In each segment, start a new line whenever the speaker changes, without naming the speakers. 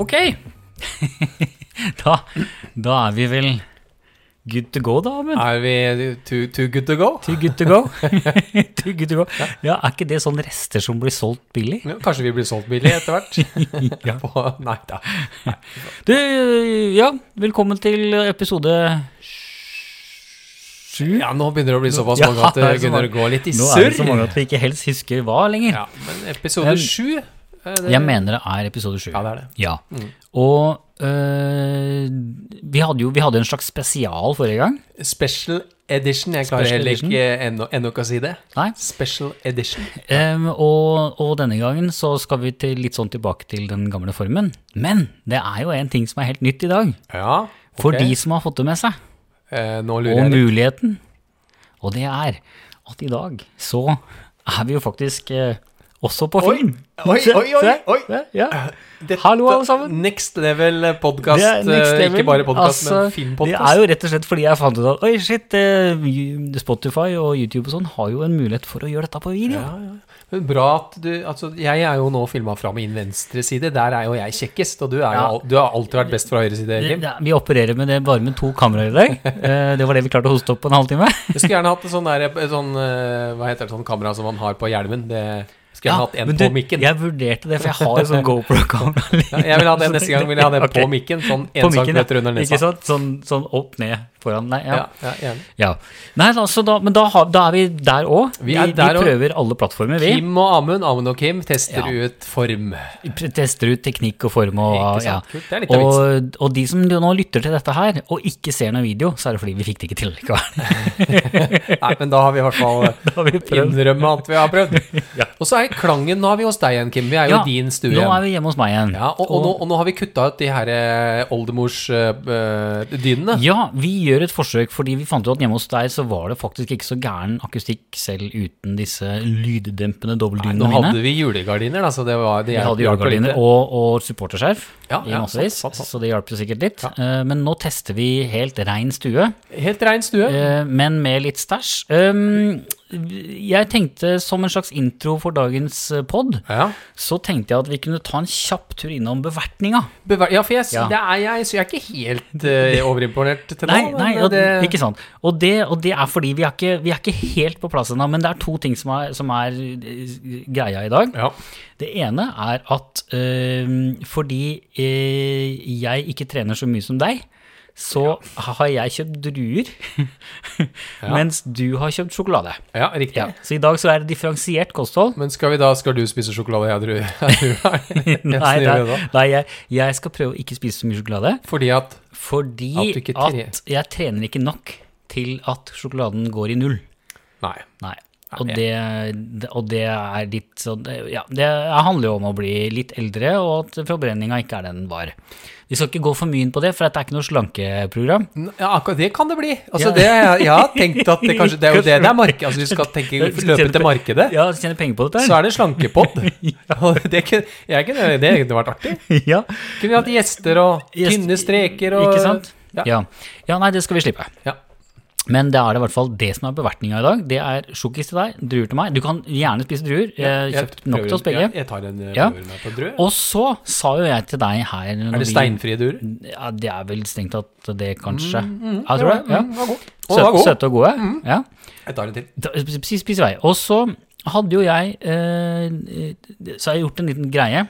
Ok. da, da er vi vel good to go, da, Amund?
Er vi too, too good to go?
Too good to go. Too good to go. Ja, er ikke det sånne rester som blir solgt billig?
Ja, Kanskje vi blir solgt billig etter hvert?
Ja.
På- Nei da.
Du, ja, velkommen til episode sju.
Ja, nå begynner det å bli såpass
Ja,
mange at det
det er så
begynner å
mange.
gå litt i
Nå er det så
surr.
mange at vi ikke helst husker hva lenger.
Ja, men episode
Men-
sju er det-
Jeg mener det Mm. er episode sju.
Ja, det er det.
Ja. Og øh, vi, hadde jo, vi hadde en slags spesial forrige gang.
Special edition. Jeg klarer
Special
heller
edition.
ikke ennå ennå ikke å si det.
Nei.
Special edition.
Em, Ehm, og, og denne gangen så skal vi til, litt sånn tilbake til den gamle formen. Men det er jo en ting som er helt nytt i dag.
Ja, ok.
For de som har fått det med seg,
eh, Nå
og
lurer jeg litt.
muligheten. Og det er at i dag så er vi jo faktisk eh, også på
Oi,
film.
oi,
Se,
oi, oi,
se,
oi.
se, Ja.
Dette-
Hallo, alle sammen.
Next level podcast.
Det er next
eh,
level.
Ikke bare podcast, men
Altså, Det er
filmpodcast.
jo rett og slett fordi jeg fant ut at oi, shit, eh, Spotify og YouTube og sånn har jo en mulighet for å gjøre dette på video.
Ja, ja. Men bra at du altså, Jeg er jo nå filma fra min venstre side. Der er jo jeg kjekkest, og du, er jo,
Ja.
al- du har alltid vært best fra høyre side. Kim.
Ja, vi opererer med det bare med to kameraer i dag. Eh, Det var det vi klarte å hoste opp på en halvtime.
Jeg skulle gjerne hatt en sånn, der, en sånn eh, Hva heter det, sånn kamera som man har på hjelmen. Det skulle gjerne hatt en
men
på
du,
mikken.
Jeg vurderte det, for jeg har jo sånn GoPro-kamera.
Ja, jeg vil ha den neste gang. Vil jeg ha den
Ok.
på mikken, sånn
På
en
mikken, ja.
centimeter under nesa.
Ikke sant? Sånn, sånn opp ned foran. Nei, ja.
Ja, ja, gjerne.
Ja. Nei, da, så da, men da, har, da er vi der òg.
Vi er der også.
prøver alle plattformer, vi.
Kim og Amund, Amund og Kim, tester
Ja.
ut form.
Pr- Tester ut teknikk og form. Og,
Ikke sant?
ja.
Kult. Det er litt av
og, og de som nå lytter til dette her, og ikke ser noen video, så er det fordi vi fikk det ikke til likevel.
Nei, men da har vi i hvert fall
Da har vi prøvd.
innrømme at vi har prøvd.
Ja.
Og så er klangen Nå er vi hos deg igjen, Kim. Vi er jo
Ja,
i din stue.
Nå
igjen.
er vi hjemme hos meg igjen.
Ja, og, og, nå, og nå har vi kutta ut de her eh, oldemorsdynene.
Ja, vi gjør et forsøk, fordi vi fant ut at hjemme hos deg så var det faktisk ikke så gæren akustikk selv uten disse lyddempende
nå
dobbeltdynene
hadde
mine.
vi julegardiner, da, så det var det
Vi hadde
hjalp jo
julegardiner
lite.
og, og supporterskjerf
Ja,
i
ja,
massevis,
sant, sant, sant.
så det hjalp jo sikkert litt. Eh, Men nå tester vi helt rein stue,
Helt rein stue.
eh, men med litt stæsj. Um, Jeg tenkte som en slags intro for dagens pod,
Ja.
så tenkte jeg at vi kunne ta en kjapp tur innom bevertninga.
Bevar ja, for jeg, s-
Ja.
Det er jeg, så jeg er ikke helt eh, overimponert til nå.
Nei, nei
men eh,
og,
det,
ikke sant. Og det, og det er fordi vi er, ikke, vi er ikke helt på plass ennå, men det er to ting som er, som er eh, greia i dag.
ja.
Det ene er at eh, fordi eh, jeg ikke trener så mye som deg, så har jeg kjøpt druer, mens du har kjøpt sjokolade.
ja, riktig.
Ja, så i dag så er det differensiert kosthold.
Men skal vi da, skal du spise sjokolade, jeg tror? Nei,
Nei, nei, nei jeg, jeg skal prøve å ikke spise så mye sjokolade,
Fordi at
fordi
At du ikke tre-
at jeg trener ikke nok til at sjokoladen går i null.
Nei.
Nei. Og det, det- og det er litt sånn Ja, det handler jo om å bli litt eldre, og at forbrenninga ikke er den den var. Vi skal ikke gå for mye inn på det, for dette er ikke noe slankeprogram.
N- Ja, akkurat det kan det bli. Altså,
Ja.
det, jeg har tenkt at det kanskje Det er jo det det er marked. Altså, du skal tenke, løpe til markedet.
Ja, tjene penger på dette
så
her.
er det slankepodd. Og det kunne, jeg kunne, det kunne vært artig.
Ja,
Kunne vi hatt gjester og
Gjest-
tynne streker og
ikke sant?
Ja.
Ja. ja, nei, det skal vi slippe.
Ja.
Men det er det i hvert fall det som er bevertninga i dag. Det er sjokkis til deg, druer til meg. Du kan gjerne spise druer. Jeg har kjøpt nok
prøver-
til oss begge.
Jeg, jeg tar en
Ja.
ja. med på drø.
Og så sa jo jeg til deg her når
Er det
vi-
steinfrie druer?
Ja, det er vel strengt tatt det, kanskje. ja, tror jeg. Ja.
Mm, var god. Å, Mm.
Søte,
var god.
søte og gode. Ja.
Jeg tar en til.
Da- sp- Spis, spis i vei. Og så hadde jo jeg eh, Så har jeg gjort en liten greie.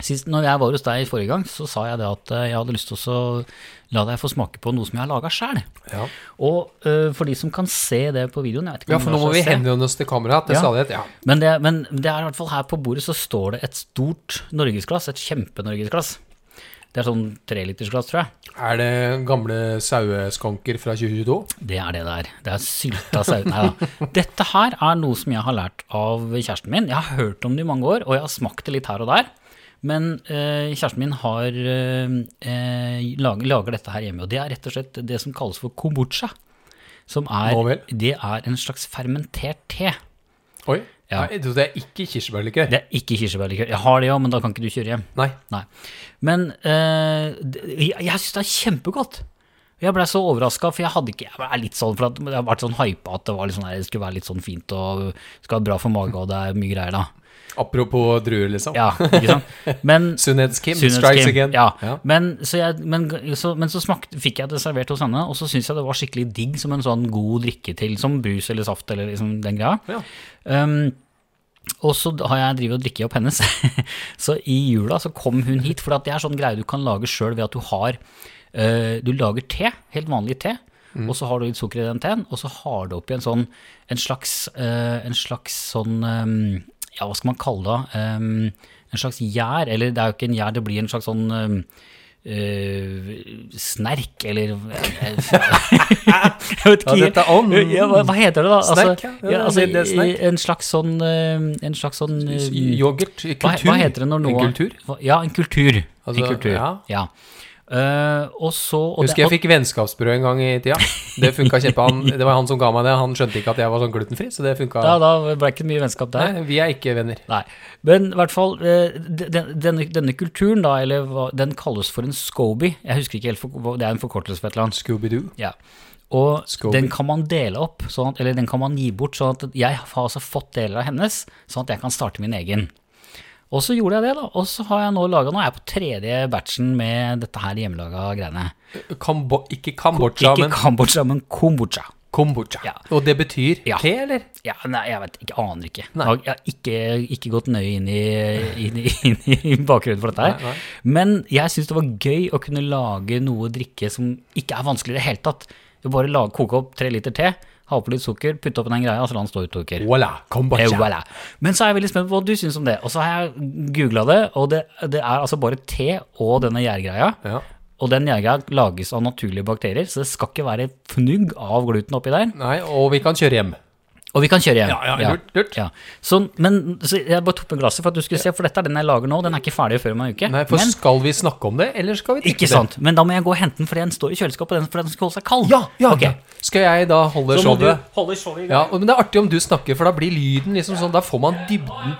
Sist, når jeg var hos deg forrige gang, så sa jeg det at eh, jeg hadde lyst til å la deg få smake på noe som jeg har laga sjæl.
Ja.
Og eh, for de som kan se det på videoen jeg vet ikke om
for
det
nå
er så å Mm,
må vi
altså, se.
henvende oss til kameraet til
Ja.
stadighet. Ja.
men det, men det er i hvert fall her på bordet så står det et stort norgesglass. Et kjempenorgesglass. Det er sånn trelitersglass, tror jeg.
Er det gamle saueskanker fra 2022?
Det er det der. Det er sylta sau. Nei da. Dette her er noe som jeg har lært av kjæresten min. Jeg har hørt om det i mange år, og jeg har smakt det litt her og der. Men eh, kjæresten min har, eh, eh, lager, lager dette her hjemme, og det er rett og slett det som kalles for kombucha. Som
Nå
er,
vel.
det er en slags fermentert te.
Oi.
Ja.
Nei, så det er ikke kirsebærlikør?
Det er ikke kirsebærlikør. Jeg har det òg, men da kan ikke du kjøre hjem.
Nei.
Nei. Men eh, det- jeg, jeg syns det er kjempegodt. Jeg blei så overraska, for jeg hadde ikke Jeg er litt sånn, for at jeg har vært sånn hypa at det, var litt sånn, der, det skulle være litt sånn fint og skal være bra for magen, og det er mye greier da.
Apropos druer, liksom.
Ja, ikke sant? Men
Sunnhetskim
Sunnhets
strikes
Kim,
again.
Ja.
Ja.
Men, så jeg, men, så, men så smakte, fikk jeg det servert hos henne, og så syns jeg det var skikkelig digg som en sånn god drikke til, som brus eller saft eller liksom den greia.
Ja.
Um, og så har jeg drivet og drikket opp hennes. så i jula så kom hun hit, for at det er sånn greie du kan lage sjøl ved at du har eh, Du lager te, helt vanlig te,
Mm.
og så har du litt sukker i den teen, og så har du oppi en sånn En slags, eh, en slags sånn eh, Ja, hva skal man kalle det? Eh, en slags gjær, eller det er jo ikke en gjær, det blir en slags sånn eh, eh, snerk, eller eh, Jeg vet
Ja, dette er ånd.
ja, hva, hva heter det da?
Snerk, ja.
altså,
Ja,
ja, altså,
det er snerk.
i- En slags sånn, eh, en slags sånn eh,
Yoghurt?
hva,
Kultur?
hva heter det når noe
En kultur?
hva- Ja, en kultur.
Altså,
en kultur.
ja.
Ja. Eh, og så og
Husker jeg fikk vennskapsbrød en gang i tida. Det funka kjempe. Han, det var han som ga meg det. Han skjønte ikke at jeg var sånn glutenfri, så det funka.
Ja, da ble det ikke mye vennskap der.
Nei, vi er ikke venner.
Nei. Men i hvert fall, eh, de- den- denne, denne kulturen, da, eller hva, den kalles for en SCOBY. Jeg husker ikke helt, for, hva- det er en forkortelse for et eller annet.
Scooby-Doo.
Ja. Og
Scoville.
den kan man dele opp, sånn at, eller den kan man gi bort, sånn at jeg har altså fått deler av hennes, sånn at jeg kan starte min egen. Og så gjorde jeg det, da. Og så har jeg nå laga Nå er jeg på tredje batchen med dette her hjemmelaga greiene.
Kambo ikke Kambodsja,
ikke
men
kambodsja, men kombucha.
kombucha.
Ja.
Og det betyr
Ja.
te, eller?
Ja, nei, jeg vet ikke, aner ikke. Jeg
Nei.
har- Jeg har ikke, ikke gått nøye inn i, inn, i, inn i bakgrunnen for dette her.
Nei, nei.
Men jeg syns det var gøy å kunne lage noe drikke som ikke er vanskelig i det hele tatt. Du bare lag, koke opp tre liter te, ha på litt sukker, putte oppi den greia, så la den stå i to uker.
Voilà,
Eh,
kombucha.
voilà. Men så er jeg veldig spent på hva du syns om det. Og så har jeg googla det, og det, det er altså bare te og denne gjærgreia.
Ja.
Og den gjærgreia lages av naturlige bakterier, så det skal ikke være et fnugg av gluten oppi der.
Nei, og vi kan kjøre hjem.
Og vi kan kjøre hjem.
Ja, ja, lurt, lurt.
Ja. Sånn, men så jeg bare tok med glasset for at du skulle se, for dette er den jeg lager nå, den er ikke ferdig før om en uke.
Nei, for
men,
skal vi snakke om det, eller skal vi drikke
ikke
det?
sant. Men da må jeg gå og hente den, for den står i kjøleskapet, den, for den skal holde seg kald.
Ja, ja.
Ok.
Skal jeg da holde
Så må du
showet?
holde showet i gang.
Ja, og- men det er artig om du snakker, for da blir lyden liksom sånn, da får man dybden.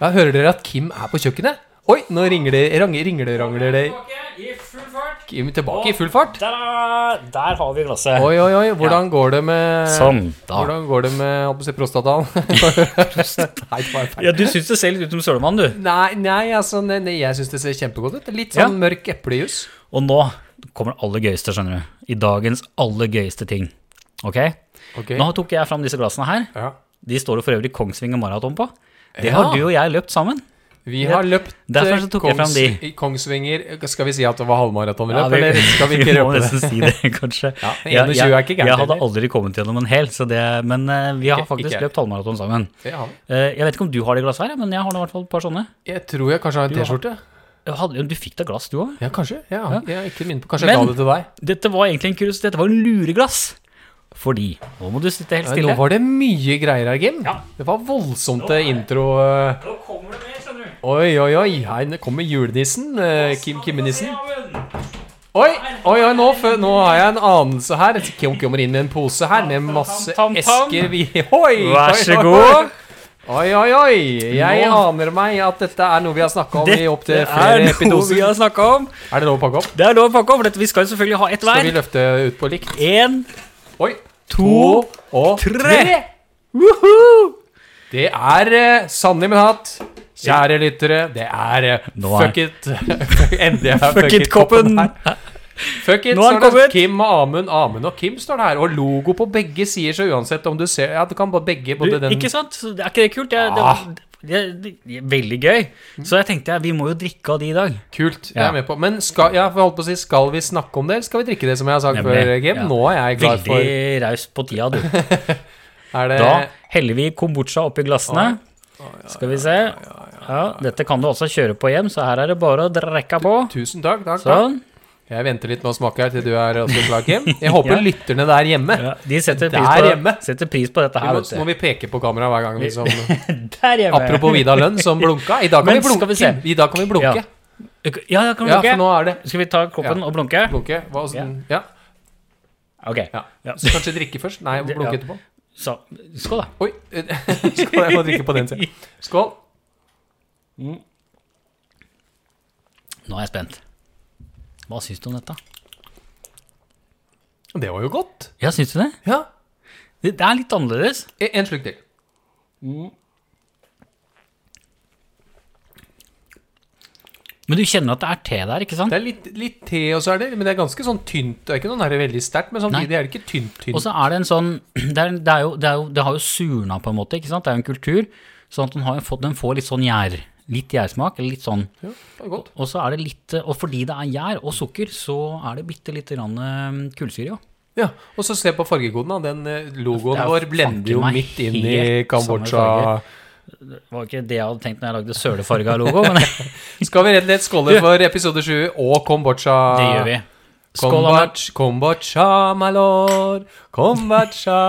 Ja, hører dere at Kim er på kjøkkenet? Oi, nå ringer det, rang- ringer det, rangler det.
I full fart.
Kim tilbake i full fart.
Der, der har vi glasset.
Oi, oi, oi, hvordan går det med...
Sånn, da.
Hvordan går det med, holdt på å si, prostataen? Nei, det var feil.
Ja, du syns det ser litt ut som sølemann, du.
Nei, nei, altså, nei, nei, jeg syns det ser kjempegodt ut. Litt sånn mørk eplejus.
Og nå kommer det aller gøyeste, skjønner du. I dagens aller gøyeste ting. Ok?
Ok.
Nå tok jeg fram disse glassene her.
Ja.
De står det for øvrig Kongsvinger Maraton på. Det
Ja.
har du og jeg løpt sammen.
Vi har løpt
Derfor så tok jeg fram de.
i Kongsvinger Skal vi si at det var halvmaratonløp,
Ja, vi-
eller skal vi ikke
må
røpe
nesten
det?
si det, kanskje.
Ja, men
Jeg-
21 er
jeg,
ikke gærent
jeg hadde
heller.
aldri kommet gjennom en hel, så det, men eh, vi har
Ikke-
faktisk
ikke jeg.
løpt halvmaraton sammen.
Det har vi.
Eh, jeg vet ikke om du har det glasset her, men jeg har nå i hvert fall et par sånne.
Jeg tror jeg kanskje har en
Du har-
T-skjorte.
Jeg hadde- Du fikk da glass, du òg?
Ja, kanskje. Ja, Jeg er ikke minnet på Kanskje jeg
Men-
ga det til deg.
Dette var egentlig en kurus, dette var en lureglass. Fordi Nå må du sitte helt
Nei, Nå
stille.
var det mye greier her, Kim.
Ja.
Det var voldsomt eh, intro. eh.
Nå kommer det mer, skjønner du.
Oi, oi, oi. Her kommer julenissen. eh, Kim Kimmenissen.
Nei,
Oi, oi, oi, nå, fø- nå har jeg en anelse her. Kim kommer inn med en pose her med masse
Tam, tam, tam.
esker. Vi, oi,
Vær
oi,
så
oi,
god.
Oi, oi, oi. Jeg
Nå-
aner meg at dette er noe vi har snakka om i opptil
Dette er
flere
noe vi
episoder.
har snakka om.
Er det lov å pakke opp?
Det er lov å pakke opp, for dette, vi skal jo selvfølgelig ha ett
Skal vi
hver.
løfte ut på likt?
Én,
Oi.
to,
og
tre.
Woohoo! Det er eh, sannelig min hatt. Kjære lyttere, det er eh,
Nå er-
fuck it. Endelig er
fuck it-koppen.
her. Fuck it,
Nå er
står
den
det.
kommet.
Kim og Amund. Amund og Kim står det her. Og logo på begge sider, så uansett om du ser Ja, du kan bare begge, både
Du,
den
Ikke sant? Så det er ikke det kult? Jeg, det,
Ah.
det, det, det er veldig gøy. Så jeg tenkte jeg, vi må jo drikke av de i dag.
Kult. Jeg
Ja.
er med på. Men skal, ja, for jeg holdt på å si, skal vi snakke om det, eller skal vi drikke det, som jeg har sagt
Nemlig,
før, Kim?
ja.
Nå er jeg klar
Veldig raus på tida, du.
for Er det
Da heller vi kombucha oppi glassene. Skal vi se. Ja, dette kan du også kjøre på hjem, så her er det bare å drikke på.
Tusen takk. takk, takk.
Sånn.
Jeg venter litt med å smake her til du er også klar, Kim. Jeg håper
Ja.
lytterne der hjemme
Ja, de setter
Der
pris, på,
hjemme.
setter pris på dette
Vi
her,
må, nå må
vet du.
vi peke på kameraet hver gang vi som
Der hjemme.
Apropos Vidar Lønn som blunka. I dag kan
Men
vi blunke.
skal vi se.
Kim. I dag kan vi blunke.
Ja, da kan vi
Ja, for nå
blunke.
er det
Skal vi ta koppen
Ja.
og blunke?
blunke. Hva, åssen- ja.
Ok.
Ja.
Ja.
Så kanskje drikke først? Nei,
Det-
blunke
ja.
etterpå.
Så skål, da.
Oi! Skål, jeg må drikke på den siden. Skål.
Nå er jeg spent. Hva syns du om dette?
Det var jo godt.
Ja, syns du det?
Ja.
Det det er litt annerledes.
E- En slurk til.
Men du kjenner at det er te der, ikke sant?
Det er litt, litt te, og så er det Men det er ganske sånn tynt. Det er ikke noe her veldig sterkt, men samtidig er det ikke tynt. tynt.
Og så er det en sånn det, er, det, er jo, det, er jo, det har jo surna på en måte, ikke sant? Det er jo en kultur. Sånn at den, har jo fått, den får litt sånn gjær. Litt gjærsmak, eller litt sånn.
ja, det var godt.
Og så er det litt eh, Og fordi det er gjær og sukker, så er det bitte lite grann eh, kullsyre, jo.
Ja, Og så se på fargekoden. da. Den eh, logoen
Det er
vår blender jo
faen meg
midt inn i
helt
Kambodsja.
samme Det var ikke det jeg hadde tenkt når jeg lagde sølefarga logo, men det
Skal vi rett og slett skåle for episode 7 og Kambodsja?
gjør vi. Skål, Amund.
Kombatsj, kombatsja, my lord. Kombatsja.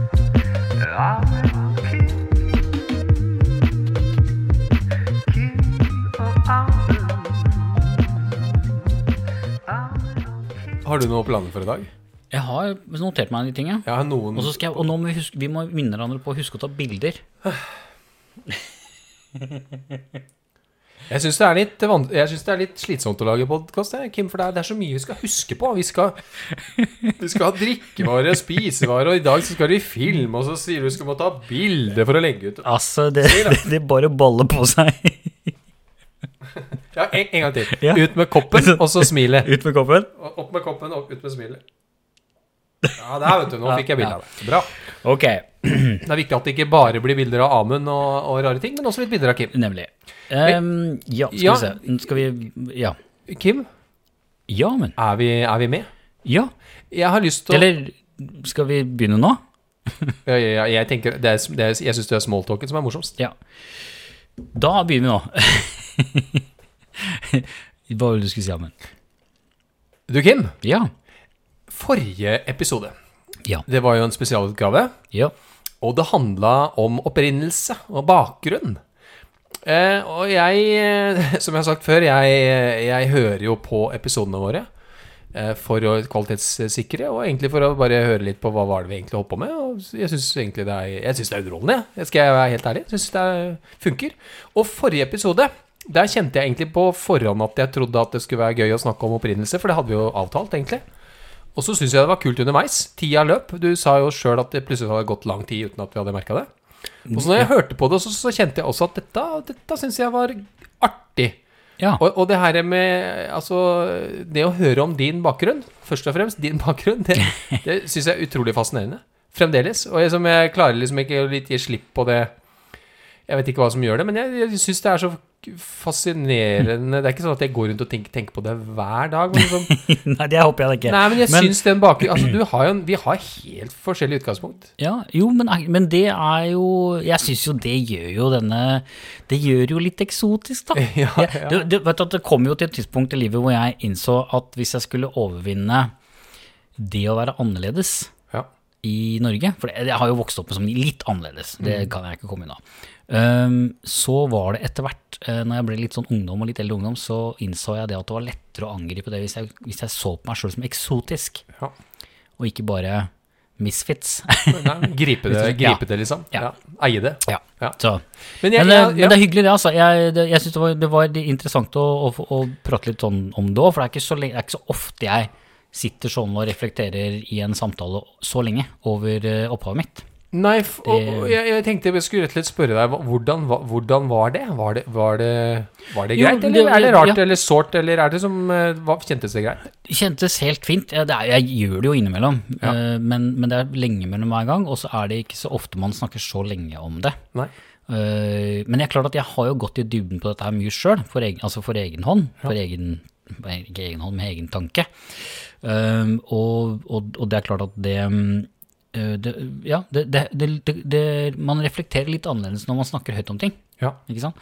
Har du noen planer for i dag?
Jeg har notert meg de tinga.
Jeg har noen
Og så skal jeg, og nå må vi, huske, vi må minne hverandre på å huske å ta bilder.
Jeg syns det, er litt van- jeg synes det er litt slitsomt å lage podkast, Kim. For det er, det er så mye vi skal huske på. Vi skal, vi skal ha drikkevare og spisevare, og i dag så skal vi filme, og så sier du vi skal må ta bilde for å legge ut
Altså, det, det bare baller på seg.
Ja, en, en gang til.
Ja.
Ut med koppen, og så smilet.
Ut med koppen.
Og Opp med koppen, og ut med smilet. Ja, der, vet du. Nå fikk jeg bilde av det. Bra.
Ok,
Det er viktig at det ikke bare blir bilder av Amund og, og rare ting, men også litt bilder av Kim.
nemlig. Ehm, ja, skal
Ja.
vi se. Nå Skal vi Ja.
Kim,
Ja, men.
er vi, er vi med?
Ja.
Jeg har lyst til å
Eller skal vi begynne nå?
ja, ja, ja, Jeg, tenker- det er- det er- jeg syns det er smalltalken som er morsomst.
Ja. Da begynner vi nå. Hva var det du skulle si, Amund?
Du, Kim.
Ja.
Forrige episode
Ja.
Det var jo en spesialutgave,
Ja.
og det handla om opprinnelse og bakgrunn. Eh, og jeg, eh, som jeg har sagt før, jeg, jeg hører jo på episodene våre eh, for å kvalitetssikre, og egentlig for å bare høre litt på hva var det vi egentlig holdt på med. Og jeg syns egentlig det er, jeg synes det er underholdende, jeg. jeg. Skal jeg være helt ærlig? Jeg syns det er, funker. Og forrige episode, der kjente jeg egentlig på forhånd at jeg trodde at det skulle være gøy å snakke om opprinnelse, for det hadde vi jo avtalt, egentlig. Og så syns jeg det var kult underveis. Tida løp. Du sa jo sjøl at det plutselig hadde gått lang tid uten at vi hadde merka det. Og så når jeg hørte på det, så, så kjente jeg også at dette, dette syns jeg var artig.
ja.
Og, og det her med Altså, det å høre om din bakgrunn, først og fremst din bakgrunn, det, det syns jeg er utrolig fascinerende. Fremdeles. Og jeg, som jeg klarer liksom ikke å litt gi slipp på det Jeg vet ikke hva som gjør det, men jeg, jeg syns det er så fascinerende Det er ikke sånn at jeg går rundt og tenker, tenker på det hver dag. Men liksom,
Nei, det håper jeg ikke.
Nei, men jeg
Men-
syns den bakgrunnen Altså, du har jo en, vi har helt forskjellig utgangspunkt.
Ja, jo, men, men det er jo Jeg syns jo det gjør jo denne Det gjør jo litt eksotisk, da.
Ja,
Jeg- Det, det, vet du, at det kom jo til et tidspunkt i livet hvor jeg innså at hvis jeg skulle overvinne det å være annerledes
ja.
i Norge, for det, jeg har jo vokst opp med som litt annerledes, det
Mm.
kan jeg ikke komme unna, Ehm, så var det etter hvert, eh, når jeg ble litt sånn ungdom og litt eldre ungdom, så innså jeg det at det var lettere å angripe det hvis jeg, hvis jeg så på meg sjøl som eksotisk,
ja.
og ikke bare misfits.
Nei, gripe det,
Ja.
gripe det liksom.
Ja.
Ja. Eie det.
ja.
Ja.
Så
Men
Men,
jeg,
det,
jeg,
men det
ja.
er hyggelig, det. altså. Jeg, det, jeg synes det, var, det var interessant å, å, få- å prate litt sånn om det òg, for det er, ikke så lenge, det er ikke så ofte jeg sitter sånn og reflekterer i en samtale så lenge over eh, opphavet mitt.
Nei, f og, og jeg, jeg tenkte jeg skulle rett og slett spørre deg hva- hvordan, hva- hvordan var det? Var det, var det, var det
Jo,
greit,
det-
eller er det rart
ja.
eller sårt, eller er det som eh, hva, Kjentes det greit?
Det kjentes helt fint. Jeg, det er, jeg gjør det jo innimellom,
Ja.
eh, men, men det er lenge mellom hver gang, og så er det ikke så ofte man snakker så lenge om det.
Nei.
Eh, men jeg er klart at jeg har jo gått i dybden på dette her mye sjøl, for, egen- altså for egen hånd. For egen, ikke egen hånd, men egen tanke. Um, og, og, og det er klart at det um, eh, det, ja, det, det, det, det, det Man reflekterer litt annerledes når man snakker høyt om ting.
Ja.
Ikke sant?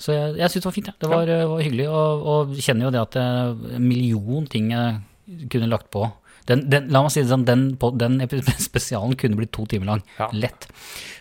Så jeg, jeg syns det var fint. Ja. Det var, eh, var hyggelig. Og, og kjenner jo det at det er en million ting jeg kunne lagt på. Den, den, la meg si det sånn, den, på, den epi- spesialen kunne blitt to timer lang.
Ja.
Lett.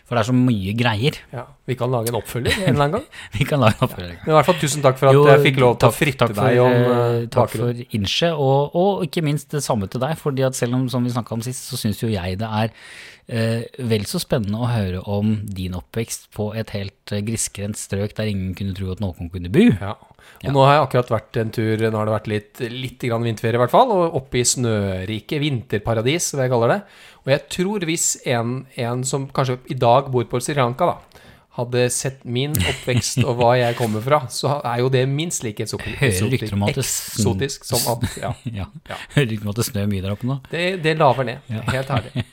For det er så mye greier.
Ja, Vi kan lage en oppfølger en eller annen gang.
Vi kan lage en oppfølging.
Men i hvert fall tusen takk for at
Jo,
jeg fikk lov til å fritte
takk for,
deg om
eh,
eh,
Takk
bakgrunnen.
for innse, og, og ikke minst det samme til deg. fordi at selv om som vi snakket om sist, så syns jo jeg det er eh, vel så spennende å høre om din oppvekst på et helt eh, grisgrendt strøk der ingen kunne tro at noen kunne bo.
Ja. Og nå har jeg akkurat vært en tur, nå har det vært litt, litt grann vinterferie i hvert fall, og oppe i snørike vinterparadis, som jeg kaller det. Og jeg tror hvis en, en som kanskje i dag bor på Sri Lanka, da, hadde sett min oppvekst og hva jeg kommer fra, så er jo det minst like eksotisk,
Hører rykter om at det-
eksotisk som at Ja,
Ja.
Ja.
Hører ikke om at det snør mye der oppe nå.
det, det laver ned. Helt ærlig.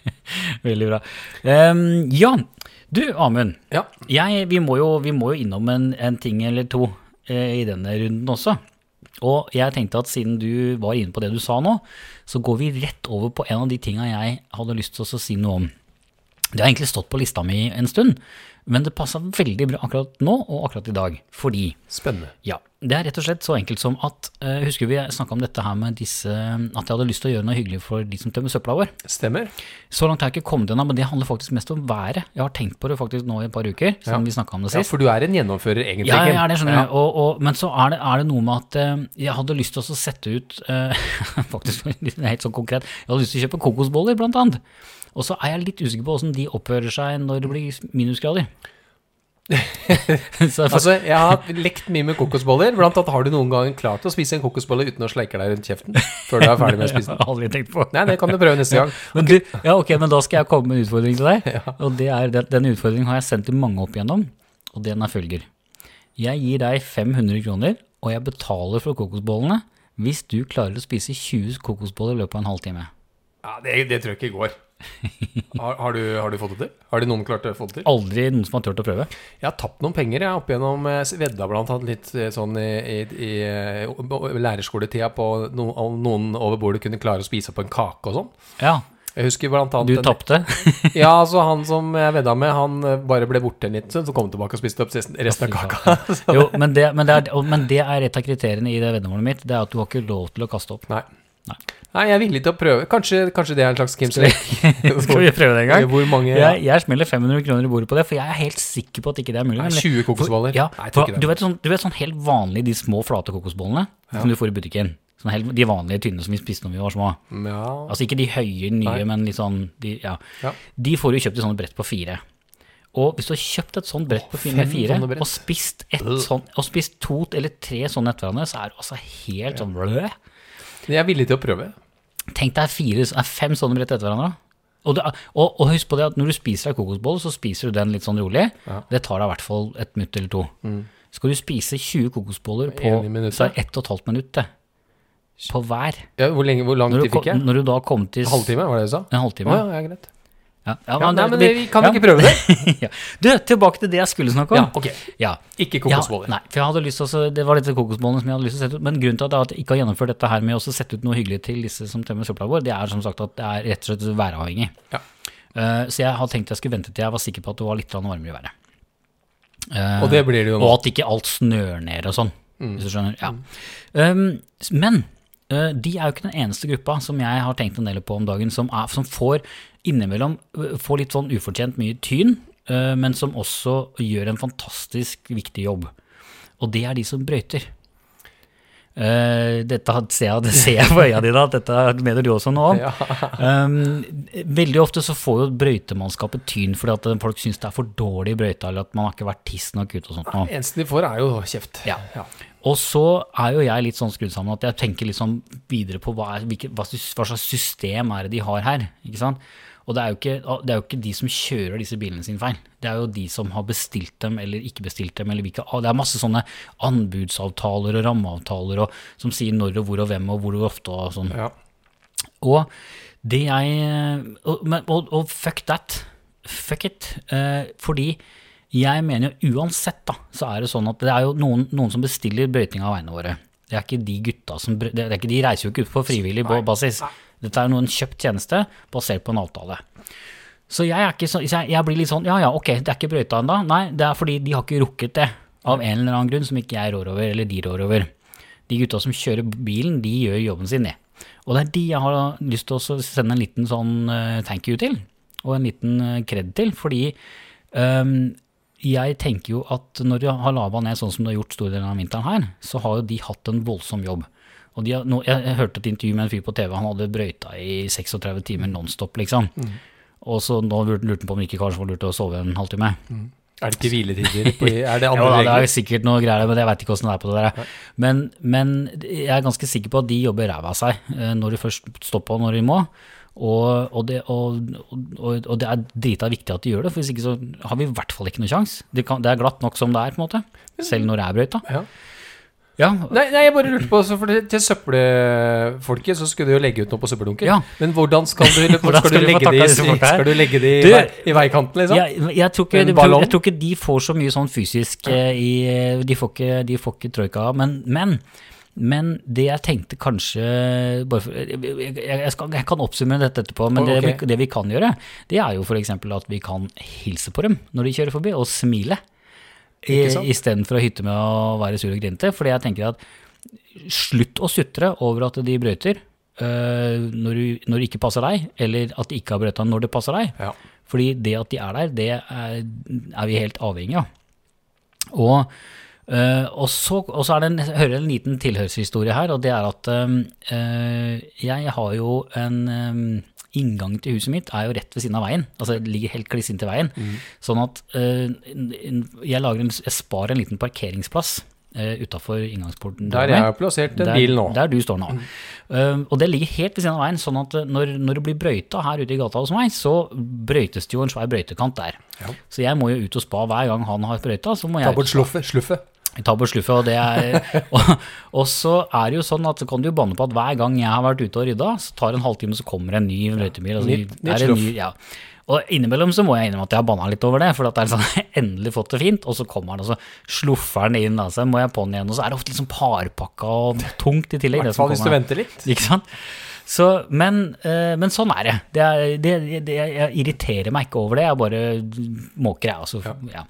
Veldig bra. Ehm, ja, du Amund.
Ja.
Jeg, vi, må jo, vi må jo innom en, en ting eller to eh, i denne runden også. Og jeg tenkte at siden du var inne på det du sa nå, så går vi rett over på en av de tinga jeg hadde lyst til å si noe om. Det har egentlig stått på lista mi en stund, men det passa veldig bra akkurat nå og akkurat i dag. Fordi
Spennende.
ja. Det er rett og slett så enkelt som at eh, Husker vi snakka om dette her med disse At jeg hadde lyst til å gjøre noe hyggelig for de som tømmer søpla vår?
Stemmer.
Så langt har jeg ikke kommet unna, men det handler faktisk mest om været. Jeg har tenkt på det faktisk nå i et par uker, siden vi snakka om det
Ja,
sist.
for du er en gjennomfører, egentlig.
Ja,
Kim.
ja, det skjønner
Ja.
jeg. Og, og, men så er det, er det noe med at eh, jeg hadde lyst til å sette ut eh, Faktisk det er helt sånn konkret. Jeg hadde lyst til å kjøpe kokosboller, blant annet. Og så er jeg litt usikker på åssen de oppfører seg når det blir minusgrader. så,
Altså, jeg har lekt mye med kokosboller. Blant annet har du noen gang klart å spise en kokosbolle uten å sleike deg rundt kjeften før du er ferdig med å
jeg
spise den.
har aldri tenkt på
Nei, det kan du prøve neste gang.
Men du, ja, ok, men da skal jeg komme med en utfordring til deg. Og det er, den, den utfordringen har jeg sendt til mange opp igjennom, og den er følger. Jeg gir deg 500 kroner, og jeg betaler for kokosbollene hvis du klarer å spise 20 kokosboller i løpet av en halvtime.
Ja, det, det tror jeg ikke går. Har, har, du, har du fått det til? Har du noen klart å få det til?
Aldri noen som har turt å prøve.
Jeg har tapt noen penger jeg opp igjennom eh, vedda blant annet litt eh, sånn i, i, i eh, lærerskoletida på no, om noen over bordet kunne klare å spise på en kake og sånn.
Ja,
Jeg husker blant
du
annet en-
tapte.
Ja, altså han som jeg vedda med, han eh, bare ble borte en liten stund, så kom han tilbake og spiste opp resten resten av kaka.
Jo, men det, men, det er, og- men det er et av kriteriene i det veddemålet mitt, det er at du har ikke lov til å kaste opp.
Nei.
Nei.
Nei, jeg er villig til å prøve. Kanskje, kanskje det er en slags Kim Selleck.
Skal vi prøve det en gang?
Hvor mange
Jeg, jeg smeller 500 kroner i bordet på det, for jeg er helt sikker på at ikke det er mulig.
Nei,
nemlig.
20 kokosboller?
Ja,
Nei, jeg tror
for,
ikke
du,
det.
vet sånn, du vet sånn helt vanlig de små flate kokosbollene som du får i butikken? Sånn helt, de vanlige tynne som vi spiste når vi var små.
Ja.
Altså ikke de høye nye, men litt sånn de, ja.
Ja.
de får du kjøpt i sånne brett på fire. Og hvis du har kjøpt et sånt brett på fire,
fem
med fire
sånne brett.
og spist, et sånn, og spist to eller tre sånne etter hverandre, så er det altså helt sånn blø.
Jeg er villig til å prøve.
Tenk deg fire, er fem sånne brett etter hverandre. Og, det, er- og, og husk på det at når du spiser deg kokosboll, så spiser du den litt sånn rolig. Det tar deg i hvert fall et minutt eller to. Skal du spise 20 kokosboller på
En Mm. i minuttet.
så er det ett og et halvt minutt det. på hver.
Ja, hvor, lenge, hvor lang
Når du,
tid fikk
kom,
jeg?
når du da kommer til s-
Halvtime, var det du sa?
en
Å
halvtime.
ja, ja, greit.
Ja,
Ja, nei, men vi kan
ja.
ikke prøve det.
ja. Du, tilbake til det jeg skulle snakke om.
Ja, ok.
Ja.
Ikke
Ja,
kokosboller.
nei, for jeg hadde lyst til å, så- det var disse kokosbollene som jeg hadde lyst til å sette ut. Men grunnen til at jeg at jeg ikke har gjennomført dette her med å også sette ut noe hyggelig til disse som tømmer søpla vår, det er som sagt at det er rett og slett væravhengig.
Ja.
Eh, så jeg hadde tenkt jeg skulle vente til jeg var sikker på at det var litt grann varmere i været.
Og det blir det jo nå.
Og at ikke alt snør ned og sånn, hvis du skjønner. Ja. Um, s- men uh, de er jo ikke den eneste gruppa som jeg har tenkt en del på om dagen, som, er, som får innimellom uh, får litt sånn ufortjent mye tyn, uh, men som også gjør en fantastisk viktig jobb. Og det er de som brøyter. Uh, dette har- ser jeg, det ser jeg på øya dine, at dette mener du også nå om.
Ja.
Um, veldig ofte så får jo brøytemannskapet tyn fordi at folk syns det er for dårlig brøyta, eller at man har ikke vært tidsnok ute og sånt. Nå.
Det eneste de får, er jo kjeft.
Ja. Og så er jo jeg litt sånn skrudd sammen at jeg tenker litt sånn videre på hva, er, hvilke, hva, sys- hva slags system er det de har her. ikke sant? Og det er, jo ikke, det er jo ikke de som kjører disse bilene sin feil. Det er jo de som har bestilt dem eller ikke bestilt dem. eller hvilke, Det er masse sånne anbudsavtaler og rammeavtaler og, som sier når og hvor og hvem og hvor og ofte og sånn.
Ja.
Og det jeg Og, men- og, og fuck that. Fuck it. Eh, fordi jeg mener jo uansett, da, så er det sånn at det er jo noen, noen som bestiller brøyting av veiene våre. Det er ikke de gutta som brø- det er ikke, De reiser jo ikke ut på frivillig ba- basis. Dette er noen kjøpt tjeneste basert på en avtale. Så jeg, er ikke så, så jeg, jeg blir litt sånn Ja ja, ok, det er ikke brøyta ennå. Nei, det er fordi de har ikke rukket det. Av en eller annen grunn som ikke jeg rår over, eller de rår over. De gutta som kjører bilen, de gjør jobben sin, de. Og det er de jeg har lyst til å sende en liten sånn eh, thank you til, og en liten eh, cred til, fordi ehm, jeg tenker jo at når du har lava ned sånn som du har gjort store deler av vinteren her, så har jo de hatt en voldsom jobb. Og de har, nå, jeg, jeg hørte et intervju med en fyr på TV, han hadde brøyta i 36 timer nonstop, liksom. Og så nå lurte lurte han på om ikke kanskje var lurt å sove en halvtime.
Er det ikke hviletider? På, er det
Jo,
andre
da, det
regler?
er sikkert noe greier, men jeg veit ikke åssen det er på det der. Men, men jeg er ganske sikker på at de jobber ræva av seg eh, når de først står på når de må. Og, og, det, og, og, og det er drita viktig at de gjør det, for hvis ikke så har vi i hvert fall ikke noe sjanse. Det, kan- det er glatt nok som det er, på en måte. Selv når det er brøyta.
Ja.
Ja,
Nei, nei, jeg bare lurte på, så for det- til søppelfolket så skulle du jo legge ut noe på søppeldunken.
Ja.
Men hvordan skal du,
Hvordan skal vi
skal du
få
legge
takka
det i,
disse folka her?
skal du legge det i,
Du-
vei, i veikanten, liksom?
jeg, jeg, tror ikke,
En
jeg, tror,
ballong?
jeg tror ikke de får så mye sånn fysisk eh, i De får ikke, de får ikke troika, men, men men det jeg tenkte kanskje bare for, jeg, jeg, jeg, skal, jeg kan oppsummere dette etterpå, men det,
Ok.
vi, det vi kan gjøre, det er jo f.eks. at vi kan hilse på dem når de kjører forbi, og smile. I-
Ikke sant?
Istedenfor å hytte med å være sur og grinte. Fordi jeg tenker at slutt å sutre over at de brøyter øh, når, du, når det ikke passer deg, eller at de ikke har brøyta når det passer deg.
Ja.
Fordi det at de er der, det er, er vi helt avhengig av. Og, øh, og, så, og så er det en, jeg hører en liten tilhørshistorie her, og det er at øhm, øh, jeg har jo en øhm, Inngangen til huset mitt er jo rett ved siden av veien. Altså det ligger helt kliss inntil veien.
Mm.
Sånn at øh, n- n- jeg, lager en, jeg sparer en liten parkeringsplass uh, utafor inngangsporten.
Der
min.
er jeg plassert en
Der-
bil nå.
Der du står nå. Um, og det ligger helt ved siden av veien, sånn at uh, når, når det blir brøyta her ute i gata hos meg, så brøytes det jo en svær brøytekant der. Så jeg må jo ut og spa hver gang han har brøyta, så må
Ta
jeg
bort sluffet. sluffet.
ta bort sluffet. Og, det er, og, og så er det jo sånn at så kan du jo banne på at hver gang jeg har vært ute og rydda, så tar det en halvtime, så kommer en ny brøytebil. og så
Nytt- nytt
er det en
sluff.
ny- Ja. Og innimellom så må jeg innrømme at jeg har banna litt over det, for at det er sånn, endelig fått det fint, og så kommer han, og så sluffer han inn, altså må jeg på'n igjen, og så er det ofte litt sånn parpakka og tungt i
I
tillegg. det
hvert
som
fall hvis du
kommer.
venter litt.
Ikke sant? Så, men, eh, men sånn er det. det, er, det, det jeg irriterer meg ikke over det, jeg bare måker, jeg. Altså. Ja.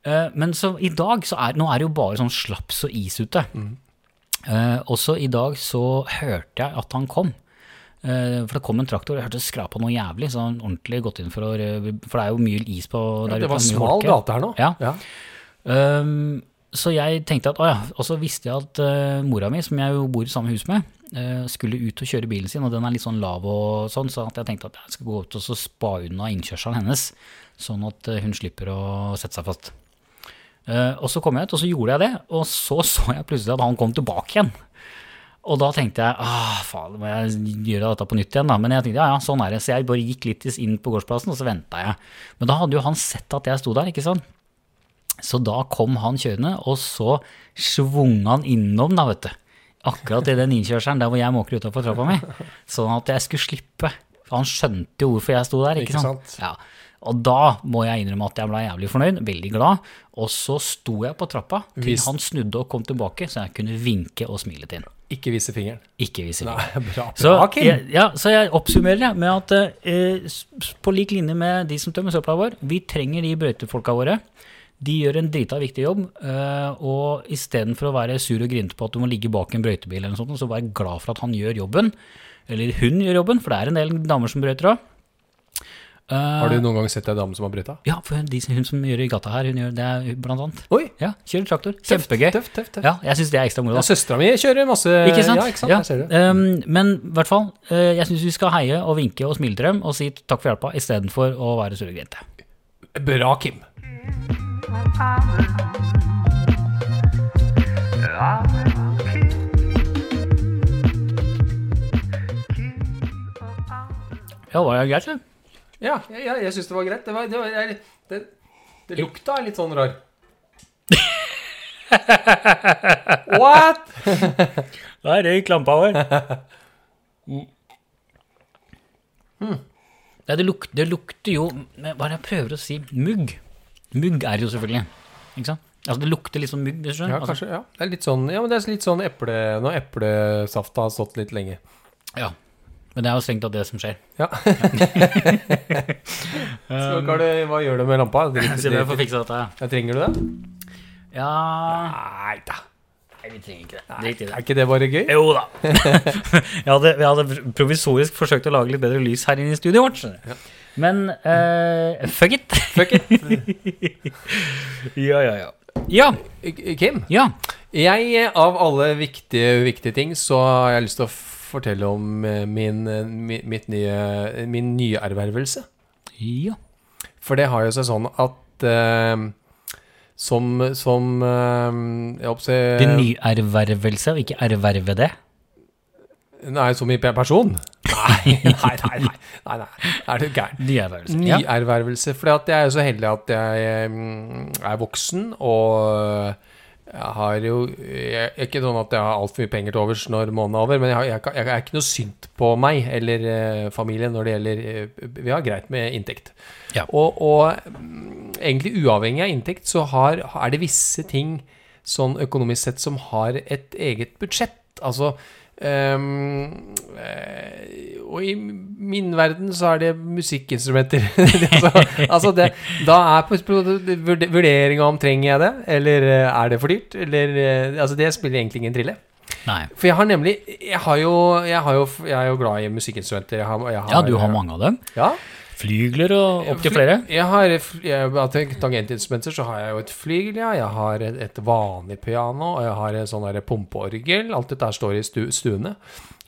Eh, men så i dag, så er, nå er det jo bare sånn slaps og is ute.
Mm.
Eh, også i dag så hørte jeg at han kom. Eh, for det kom en traktor, jeg hørte det skrapa noe jævlig, så han ordentlig gått inn for å rø- For det er jo mye is på der
Det
ute,
var
mye
smal
holke.
gate her nå.
Ja.
Ja.
Ehm, så jeg tenkte at, å ja, og så visste jeg at eh, mora mi, som jeg jo bor i samme hus med, eh, skulle ut og kjøre bilen sin, og den er litt sånn lav og sånn, så at jeg tenkte at jeg skal gå ut og så spa unna innkjørselen hennes, sånn at eh, hun slipper å sette seg fast. Eh, og så kom jeg ut, og så gjorde jeg det, og så så jeg plutselig at han kom tilbake igjen. Og da tenkte jeg ah, faen, må jeg gjøre dette på nytt igjen, da. Men jeg tenkte ja, ja, sånn er det. Så jeg bare gikk litt inn på gårdsplassen, og så venta jeg. Men da hadde jo han sett at jeg sto der, ikke sant. Så da kom han kjørende, og så svung han innom, da, vet du. Akkurat i den innkjørselen der hvor jeg måker utafor trappa mi. Sånn at jeg skulle slippe. For han skjønte jo hvorfor jeg sto der, ikke
Ikke
sant. Ja. Og da må jeg innrømme at jeg ble jævlig fornøyd, veldig glad. Og så sto jeg på trappa til
Hvis-
han snudde og kom tilbake, så jeg kunne vinke og smile til ham.
Ikke vise fingeren.
Ikke vise
Nei,
fingeren.
bra.
Så
bra, Kim.
jeg, ja, så jeg oppsummerer jeg med at eh, s- på lik linje med de som tømmer søpla vår, vi trenger de brøytefolka våre. De gjør en drita viktig jobb, eh, og istedenfor å være sur og grinte på at du må ligge bak en brøytebil, eller noe sånt, så vær glad for at han gjør jobben, eller hun gjør jobben, for det er en del damer som brøyter òg.
Har du noen gang sett ei dame som har brøyta?
Ja, for hun, de, hun som gjør i gata her, hun gjør det er blant annet.
Oi!
Ja, kjører traktor. Kjempegøy.
Tøft, tøft, tøft.
Ja, jeg syns det er ekstra moro.
Ja,
da.
Søstera mi kjører masse
Ikke sant?
Ja, ikke sant?
Ja.
Der ser du.
Ehm, men i hvert fall, eh, jeg syns vi skal heie og vinke og smile til dem og si takk for hjelpa istedenfor å være sure og grinte.
Bra, Kim.
Ja, var det greit, eller?
Ja, ja, ja jeg syns det var greit. Det, var, det, var, jeg- det, det lukta er litt sånn rar. What?!
Da røyk lampa vår. Nei, Mm. det, luk, det lukter jo men Hva er det jeg prøver å si? Mugg. Mugg er det jo selvfølgelig. Ikke sant? Altså, det lukter litt som mugg. hvis du skjønner.
Ja, kanskje, ja. Det er litt sånn, ja, men det er litt sånn eple, når eplesafta har stått litt lenge.
Altså, ja. Men det er jo strengt tatt det som skjer.
Ja. Så, Karl, hva gjør du med lampa? Drit-
Se om jeg
drit-
får fiksa dette.
Ja, trenger du det?
Ja
Nei da.
Nei, vi trenger ikke det. Drit i det.
Er ikke det bare gøy?
Jo da. jeg, hadde, jeg hadde provisorisk forsøkt å lage litt bedre lys her inne i studioet vårt. skjønner du. Men eh, fuck it.
Fuck it.
ja, ja, ja. Ja,
Kim,
ja.
jeg eh, av alle viktige, viktige ting så har jeg lyst til å fortelle om eh, min, eh, mi- mitt nye, min nye ervervelse.
ja.
For det har jo seg sånn at eh, som, som eh, jeg håper å si
Det er nyervervelse, og ikke erverve det.
Nei, som i pe- person? Nei, nei, nei. nei, nei, nei. Er du gæren?
Nyervervelse. Ja.
Nyervervelse. For jeg er jo så heldig at jeg mm, er voksen, og øh, jeg har jo jeg, er Ikke sånn at jeg har altfor mye penger til overs når måneden er over, men jeg, har, jeg, kan- jeg er ikke noe synd på meg eller eh, familien når det gjelder eh, Vi har greit med inntekt.
Ja.
Og, og mm, egentlig uavhengig av inntekt, så har, er det visse ting sånn økonomisk sett som har et eget budsjett. Altså ehm, eh, Og i min verden så er det musikkinstrumenter. altså, altså det, da er på- på- vurd- vurderinga om trenger jeg det, eller eh, er det for dyrt? Eller, eh, altså det spiller egentlig ingen trille.
Nei.
For jeg har nemlig Jeg, har jo, jeg, har jo, jeg er jo glad i musikkinstrumenter. Jeg har, jeg har, eh,
Ja, du har mange av dem.
Ja,
Flygler og opptil flere.
jeg har fl- jeg, av tang- tangentinstrumenter så har jeg jo et flygel, ja. Jeg har et, et vanlig piano, og jeg har en sånn der pumpeorgel. Alt dette her står i stu, stuene.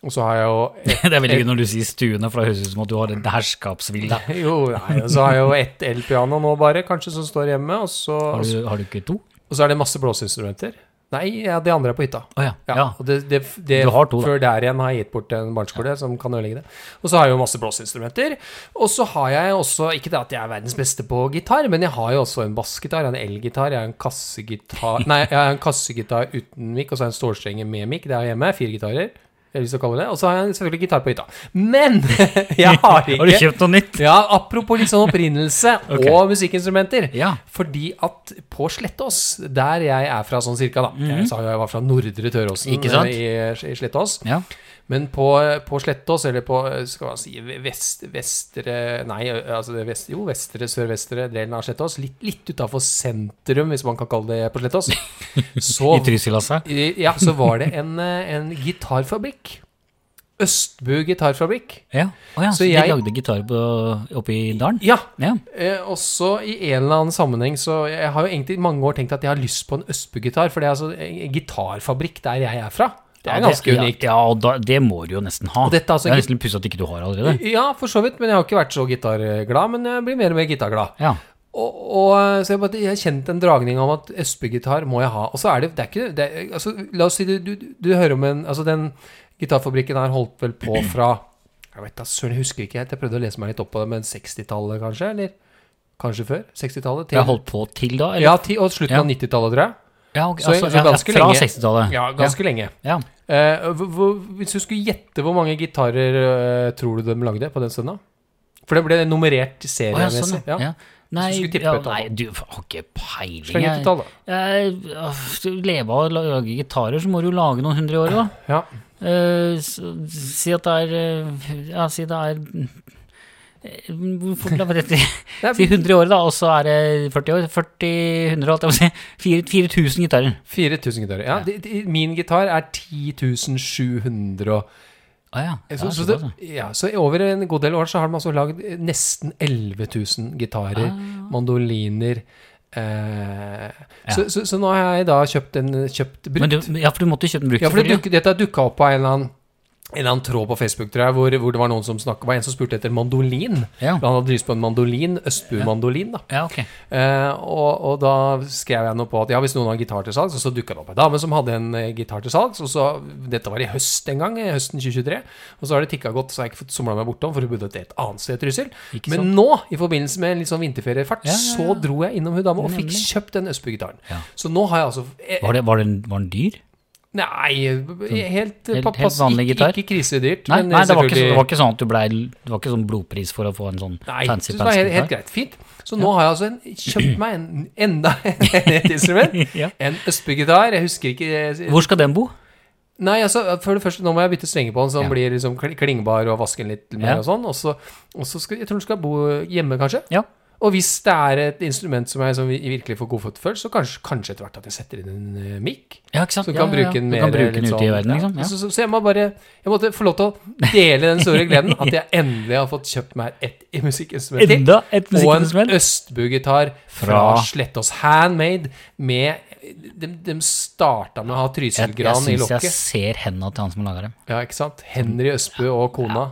Og så har jeg jo et,
Det er veldig gøy når du sier stuene, for det høres ut som at du har en herskapsvilla.
jo, nei, og så har jeg jo ett elpiano nå, bare, kanskje, som står hjemme. Og så,
Har
og så,
du, har du ikke to?
og så er det masse blåseinstrumenter. Nei, ja, de andre er på hytta.
Å ja.
Ja,
ja.
og det, det, det,
Du har to, da.
Før der igjen har jeg gitt bort til en barneskole som kan ødelegge det. Og så har jeg jo masse blåseinstrumenter. Og så har jeg også, ikke det at jeg er verdens beste på gitar, men jeg har jo også en bassgitar, en elgitar, jeg har en kassegitar Nei, jeg har en kassegitar uten mikk, og så har jeg en stålstrenge med mikk. Det har jeg hjemme. Fire gitarer. jeg har lyst til å kalle det, Og så har jeg selvfølgelig gitar på hytta. Men jeg har ikke
Har du kjøpt noe nytt?
Ja, apropos litt sånn opprinnelse
Ok.
og musikkinstrumenter.
Ja.
Fordi at på Slettås, der jeg er fra sånn cirka, da Jeg sa jo jeg var fra Nordre Tøråsen
Mhm. Ikke sant?
eh, i, i Slettås.
Ja.
Men på, på Slettås, eller på eh, skal man si vest, vestre Nei, eh, altså det vest, jo, vestre, sørvestre delen av Slettås. Litt, litt utafor sentrum, hvis man kan kalle det på Slettås. Så,
I Trysillasset?
i- ja, så var det en, eh, en gitarfabrikk. Østbu gitarfabrikk.
Ja. Å ja, så
Så
de
jeg-
lagde gitar på, oppe i dalen?
Ja,
Ja.
Eh, også i en eller annen sammenheng så Jeg har jo egentlig i mange år tenkt at jeg har lyst på en Østby-gitar, for det er altså en en gitarfabrikk der jeg er fra. Det er
Ja,
ganske
ja,
unikt.
Ja, og da, det må du jo nesten ha.
Og dette er altså
det er
ikke-
nesten litt pussig at ikke du har allerede.
Ja, for så vidt, men jeg har ikke vært så gitarglad. Men jeg blir mer og mer gitarglad.
Ja.
Og, og eh, så jeg, bare, jeg har kjent en dragning om at Østby-gitar må jeg ha. Og så er det, det er ikke det er, altså, La oss si du, du, du hører om en Altså, den gitarfabrikken her holdt vel på fra Jeg vet da søren, jeg husker ikke helt. Jeg prøvde å lese meg litt opp på det, men 60-tallet kanskje? Eller kanskje før? 60-tallet? til-
Jeg holdt på til da? Eller?
Ja, ti, og slutten av 90-tallet, tror jeg.
Ja, ok,
Så-
altså,
så
ja, ja,
ganske
fra
lenge.
60-tallet.
Ja, ganske lenge.
Ja.
Eh, hvor- hvor- hvis du skulle gjette hvor mange gitarer eh, tror du de lagde på den stunda? For det ble nummerert
Å ja,
seriemessig.
sånn, ja. ja. Nei,
Hvis du skulle tippe
ja,
et tall.
nei, du har ikke peiling.
Sleng ut
jeg.
et tall, da.
Jeg, øh, du lever av å lage gitarer, så må du lage noen hundre i året, da.
Ja.
Eh, så, si at det er eh, Ja, si det er eh, Hvorfor la meg rett i
Det
Si
er
100 i året, da, og så er det 40 år. 40, 100, alt jeg må si. 4000 gitarer.
4000 gitarer. Ja, de, de, min gitar er 10.700 og
Å ja. ja,
så, altså. så,
såpass, ja.
det, ja, så over en god del år så har de altså lagd eh, nesten 11 000 gitarer, mandoliner eh, så, så, så nå har jeg da kjøpt en kjøpt brukt.
Men du, ja, for du måtte jo kjøpe den brukt,
Ja, for det
selvfølgelig.
dukket- dette dukka opp på en eller annen en eller annen tråd på Facebook tror jeg, hvor, hvor det var noen som snakket, var en som spurte etter mandolin.
Ja.
Han hadde lyst på en mandolin, Østbu-mandolin. da.
Ja, ok.
Eh, og, og da skrev jeg noe på at ja, hvis noen har gitar til salgs, og så dukka det opp ei dame som hadde en eh, gitar til salgs. Og så, dette var i høst en gang, eh, høsten 2023. Og så har det tikka godt, så har jeg ikke fått somla meg bortom, for hun bodde et annet sted i Trysil.
Ikke
Men nå, i forbindelse med en litt sånn vinterferiefart,
Ja, ja, ja.
så dro jeg innom hun dama og fikk
Nemlig.
kjøpt den Østbu-gitaren.
Ja.
Så nå har jeg altså eh,
Var, det, var, den, var den dyr?
Nei, helt,
Sånn helt
pass-
vanlig
ikke,
gitar?
Ikke krisedyrt.
Nei,
men
nei det, var ikke, så- det
selvfølgelig-
var ikke sånn at du blei Det var ikke sånn blodpris for å få en sånn
Nei,
fancy
det var
fancy
helt, helt
gitar.
greit. Fint. Så nå har jeg altså en, kjøpt meg en, enda et instrument.
Ja.
En Østby-gitar. Jeg husker ikke
Hvor skal den bo?
Nei, altså, for det første, nå må jeg bytte strenger på den, så den
Ja.
blir liksom kl- klingbar og vaske den litt mer
Ja.
og sånn. Og så, og så skal jeg tror den skal bo hjemme, kanskje.
Ja.
Og hvis det er et instrument som jeg som vi- virkelig får godfot for, så kanskje, kanskje etter hvert at jeg setter inn en eh, mic.
Ja, ikke sant?
Så du
ja,
kan
ja,
bruke den
ja.
mer
Du kan bruke den
litt
ute i
sånn-
verden,
ja.
liksom. Ja.
Så, så, så jeg må bare Jeg måtte få lov til å dele den store gleden at jeg endelig har fått kjøpt meg et musikkinstrument til.
Enda et
Og en
musikkinstrument.
Østbu-gitar fra
Fra-
Slettås Handmade. Med, de, de starta med å ha
Jeg, jeg
trysilgran i
syns jeg
lokket.
ser henda til han som lager dem.
Ja, ikke sant? Henry Østbu og kona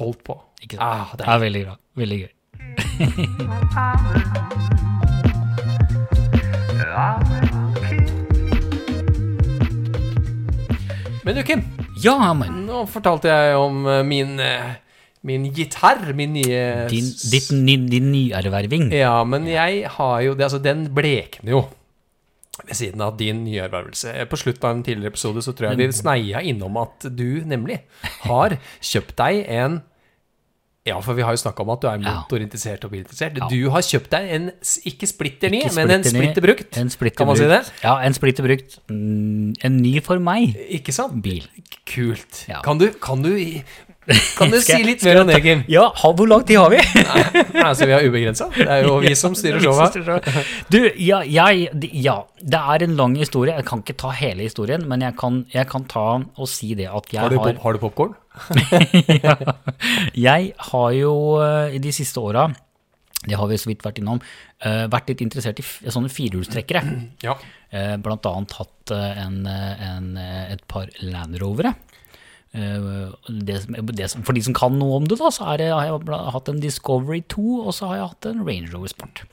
holdt på.
Ikke sant?
Ah,
Det
det
er veldig bra. Veldig gøy.
er- Men du, Kim,
Ja, men
nå fortalte jeg om eh, min, eh, min gitar. Min nye
din, ditt, din, din nyerverving.
Ja, men jeg har jo det, altså Den blekner jo ved siden av din nyervervelse. Eh, På slutten av en tidligere episode så tror jeg
Mm.
vi sneia innom at du nemlig har kjøpt deg en Ja, for vi har jo snakka om at du er
Ja.
motorinteressert og bilinteressert. Du har kjøpt deg en s- ikke splitter ny,
Ikke
men en
splitter ny,
splitter brukt.
En splitter
Kan man si
brukt.
det?
Ja, en splitter brukt. Mm, En ny for meg.
Ikke sant?
Bil.
Kult.
Ja.
Kan du, kan du, kan du
Skal
si
jeg-
litt mer om det, Kim?
Ja, ha, hvor lang tid har vi?
Nei, altså, vi har ubegrensa. Det er jo vi som styrer showet.
Du, ja, jeg, de- ja, det er en lang historie. Jeg kan ikke ta hele historien, men jeg kan, jeg kan ta og si det at jeg
Har du,
har,
pop- har du popkorn?
jeg har jo eh, i de siste åra, det har vi så vidt vært innom, eh, vært litt interessert i f- sånne firehjulstrekkere.
Ja.
Eh, Blant annet hatt eh, en, eh, en, eh, et par Land Rovere. Eh, Det, som- det, som- for de som kan noe om det, da, så er det, har jeg bla- hatt en Discovery 2 og så har jeg hatt en Range Rover Sport.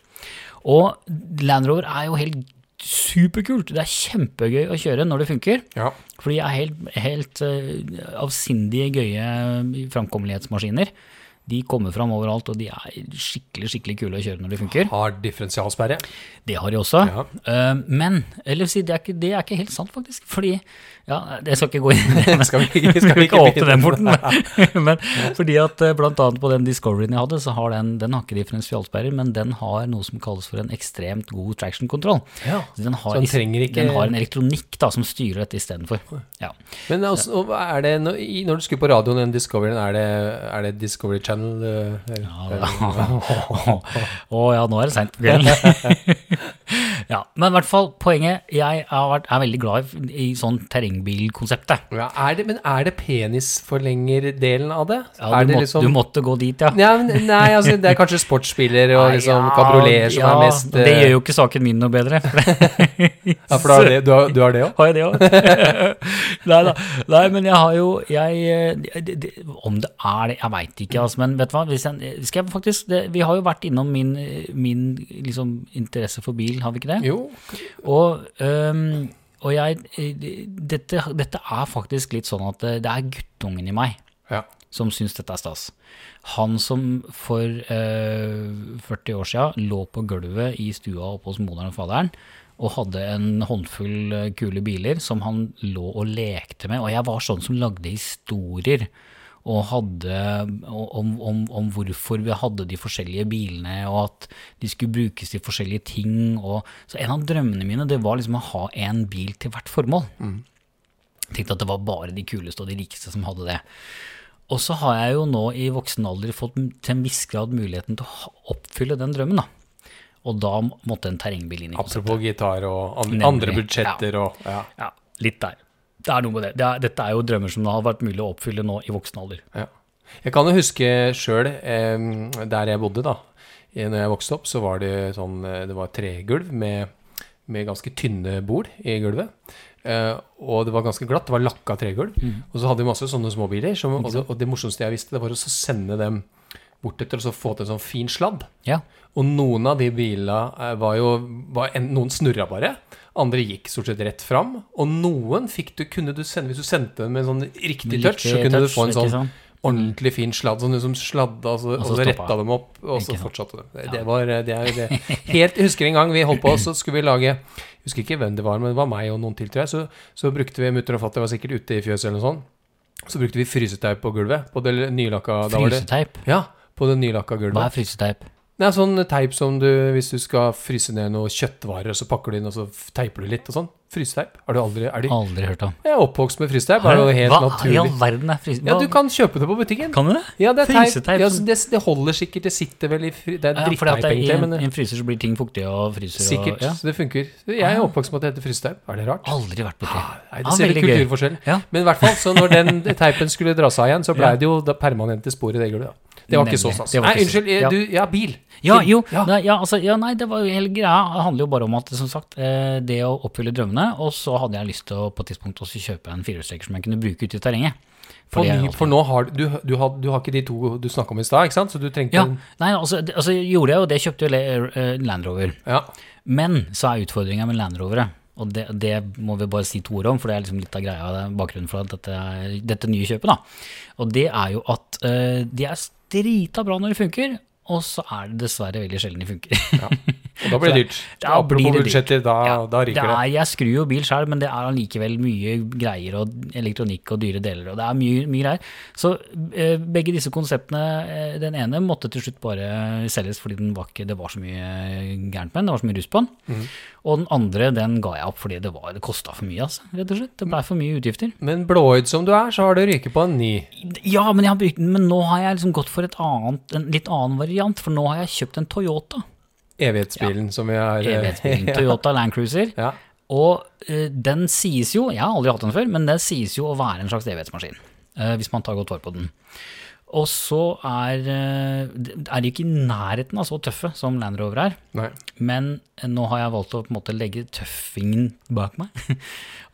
Og Land Rover er jo helt superkult. Det er kjempegøy å kjøre når det funker.
ja.
For de er helt, helt eh, avsindige, gøye eh, framkommelighetsmaskiner. De kommer fram overalt, og de er skikkelig skikkelig kule å kjøre når de funker.
Har differensialsperre.
Det har de også.
Ja.
Eh, men eller si, det, er ikke, det er ikke helt sant, faktisk. Fordi ja, Jeg skal ikke gå inn i det. men-
Skal vi,
Vi skal ikke åpne den porten,
begynne med det?
men, men fordi at eh, blant annet på den Discoveryen jeg hadde, så har den, den har ikke differensialsperrer, men den har noe som kalles for en ekstremt god traction control.
Ja.
Så Den har,
Så den
is-
trenger ikke-
den har en elektronikk da, som styrer dette istedenfor. Ja.
Men altså, og er det, no- i- når du skrur på radioen den Discoveryen, er det, er det Discovery Channel? eh, Ja,
Å ja, nå er det seint på kvelden. ja, men i hvert fall, poenget Jeg har vært, er veldig glad i, i sånn terrengbilkonseptet.
ja, er det, men er det penisforlengerdelen av det?
Ja,
er
du,
det liksom
måtte, du måtte gå dit, liksom- ja.
ja, men, Nei, altså, det er kanskje sportsbiler og
Nei,
liksom
ja,
kabrioleter som
ja,
er mest eh,
Det gjør jo ikke saken min noe bedre.
Ja, for du har det, du har, du har det òg?
Har jeg det òg? Nei da. Nei, men jeg har jo jeg, eh, det, det, Om det er det, jeg veit ikke. Altså, men vet du hva, hvis jeg, skal jeg faktisk, det, vi har jo vært innom min, min liksom, interesse for bil, har vi ikke det?
Jo.
Og, øhm, og jeg, eh, dette, dette er faktisk litt sånn at det det er guttungen i meg
Ja.
som syns dette er stas. Han som for øh, 40 år siden lå på gulvet i stua oppe hos moderen og faderen, og hadde en håndfull øh, kule biler som han lå og lekte med. Og jeg var sånn som lagde historier og hadde, om, om, om hvorfor vi hadde de forskjellige bilene, og at de skulle brukes til forskjellige ting. Og, så en av drømmene mine det var liksom å ha en bil til hvert formål. Tenkte at det var bare de kuleste og de rikeste som hadde det. Og så har jeg jo nå i voksen alder fått m- til en viss grad muligheten til å ha- oppfylle den drømmen, da. Og da m- måtte en terrengbil inn i konseptet.
Apropos gitar og an,
Nemlig,
andre budsjetter og ja.
Ja, litt der. Det er noe med det. det er, dette er jo drømmer som det har vært mulig å oppfylle nå i voksen alder.
Ja. Jeg kan jo huske sjøl, eh, der jeg bodde da, eh, når jeg vokste opp, så var det sånn eh, Det var tregulv med, med ganske tynne bord i gulvet. Eh, og det var ganske glatt. Det var lakka tregulv.
Mm.
Og så hadde vi masse sånne småbiler. Som, og, det, og det morsomste jeg visste, det var å så sende dem bortetter og så få til en sånn fin sladd.
Ja.
Og noen av de bilene eh, var jo var en, Noen snurra bare. Andre gikk stort sett rett fram. Og noen fikk du, kunne du sende Hvis du sendte dem med en sånn riktig
Med
touch, så
riktig
kunne du
touch,
få en
ikke
sånn
sant?
ordentlig fin sladd. Sånn du som sladda, og så, og så
stoppa.
retta dem opp, og så
Ikke sant.
fortsatte dem. Det, det var eh, det er jo det. Helt, jeg husker en gang vi holdt på, så skulle vi lage Jeg husker ikke hvem det var, men det var meg og noen til, tror jeg. Så, så brukte vi mutter og fatter, var sikkert ute i fjøset eller noe sånt. Så brukte vi frysetau på gulvet. På det nylakka da var det-
Fryseteip.
Ja, på det nylakka gulvet.
Hva er fryseteip?
Det er sånn teip som du Hvis du skal fryse ned noen kjøttvarer, så pakker du inn og så f- teiper du litt og sånn. Fryseteip. Er du aldri er du,
Aldri hørt om.
Jeg er oppvokst med fryseteip. Er det jo helt
Hva i all
naturlig.
verden er frys...
Ja,
hva-
du kan kjøpe det på butikken.
Kan du det?
Ja, det er teip.
Fryseteip
Ja,
som-
det, det holder sikkert. Det sitter vel i fri, Det er
Ja, fordi at
dritteip,
det er
egentlig,
i, en,
men
I
det-
en fryser så blir ting fuktige og fryser
sikkert.
og ja.
Så det funker. Jeg er oppvokst med at det heter fryseteip. Er det rart? Ah,
Aldri vært borti.
Nei,
Ja,
det ser du
ah, veldig gøy.
kulturforskjell.
Ja.
Men i hvert fall, så når den teipen skulle dras av igjen, så blei
Ja.
det jo da permanente spor i det gulvet. da. Det var ikke så
Nemlig.
stas.
Det var
Nei,
ikke så-
unnskyld. eh,
ja.
Du, ja, bil.
Ja, jo.
Ja.
Nei, ja, altså, ja, nei, det var jo hele greia. Det handler jo bare om at, som sagt, eh, det å oppfylle drømmene, og så hadde jeg lyst til å på et tidspunkt også kjøpe en firehjulstrekker som jeg kunne bruke ute i terrenget.
For,
Fordi jeg
ny,
alltid-
for nå har du, du, har, du har ikke de to du snakka om i stad, ikke sant? Så du trengte
Ja,
en
nei, altså, det- altså gjorde jeg jo det, kjøpte jo le- eh, Land Rover.
ja.
Men så er utfordringa med Land Rovere, og det, det må vi bare si to ord om, for det er liksom litt av greia, det er bakgrunnen for at dette, er- dette nye kjøpet, da. Og det er jo at eh, de er drita bra når det funker, og så er det dessverre veldig sjelden de funker.
Og da blir det dyrt.
Da blir
Apropos
det dyrt.
budsjetter, da,
Ja,
da ryker det.
er, jeg skrur jo bil sjøl, men det er allikevel mye greier og elektronikk og dyre deler, og det er mye, mye greier. Så eh, begge disse konseptene, eh, den ene måtte til slutt bare selges fordi den var ikke, det var så mye eh, gærent med den, det var så mye rus på den.
Mhm.
Og den andre, den ga jeg opp fordi det, var- det kosta for mye, altså, rett og slett. Det
Mhm.
blei for mye utgifter.
Men blåøyd som du er, så har du ryket på en ny.
Ja, men, jeg har brukt den, men nå har jeg liksom gått for et annet, en litt annen variant, for nå har jeg kjøpt en Toyota.
Evighetsbilen som vi har eh,
Evighetsbilen. Toyota Land Cruiser.
ja.
Og eh, den sies jo, jeg har aldri hatt den før, men den sies jo å være en slags evighetsmaskin. eh, hvis man tar godt vare på den. Og så er, eh, det- er de ikke i nærheten av så tøffe som Land Rover er.
Nei.
Men eh, nå har jeg valgt å på en måte legge tøffingen bak meg.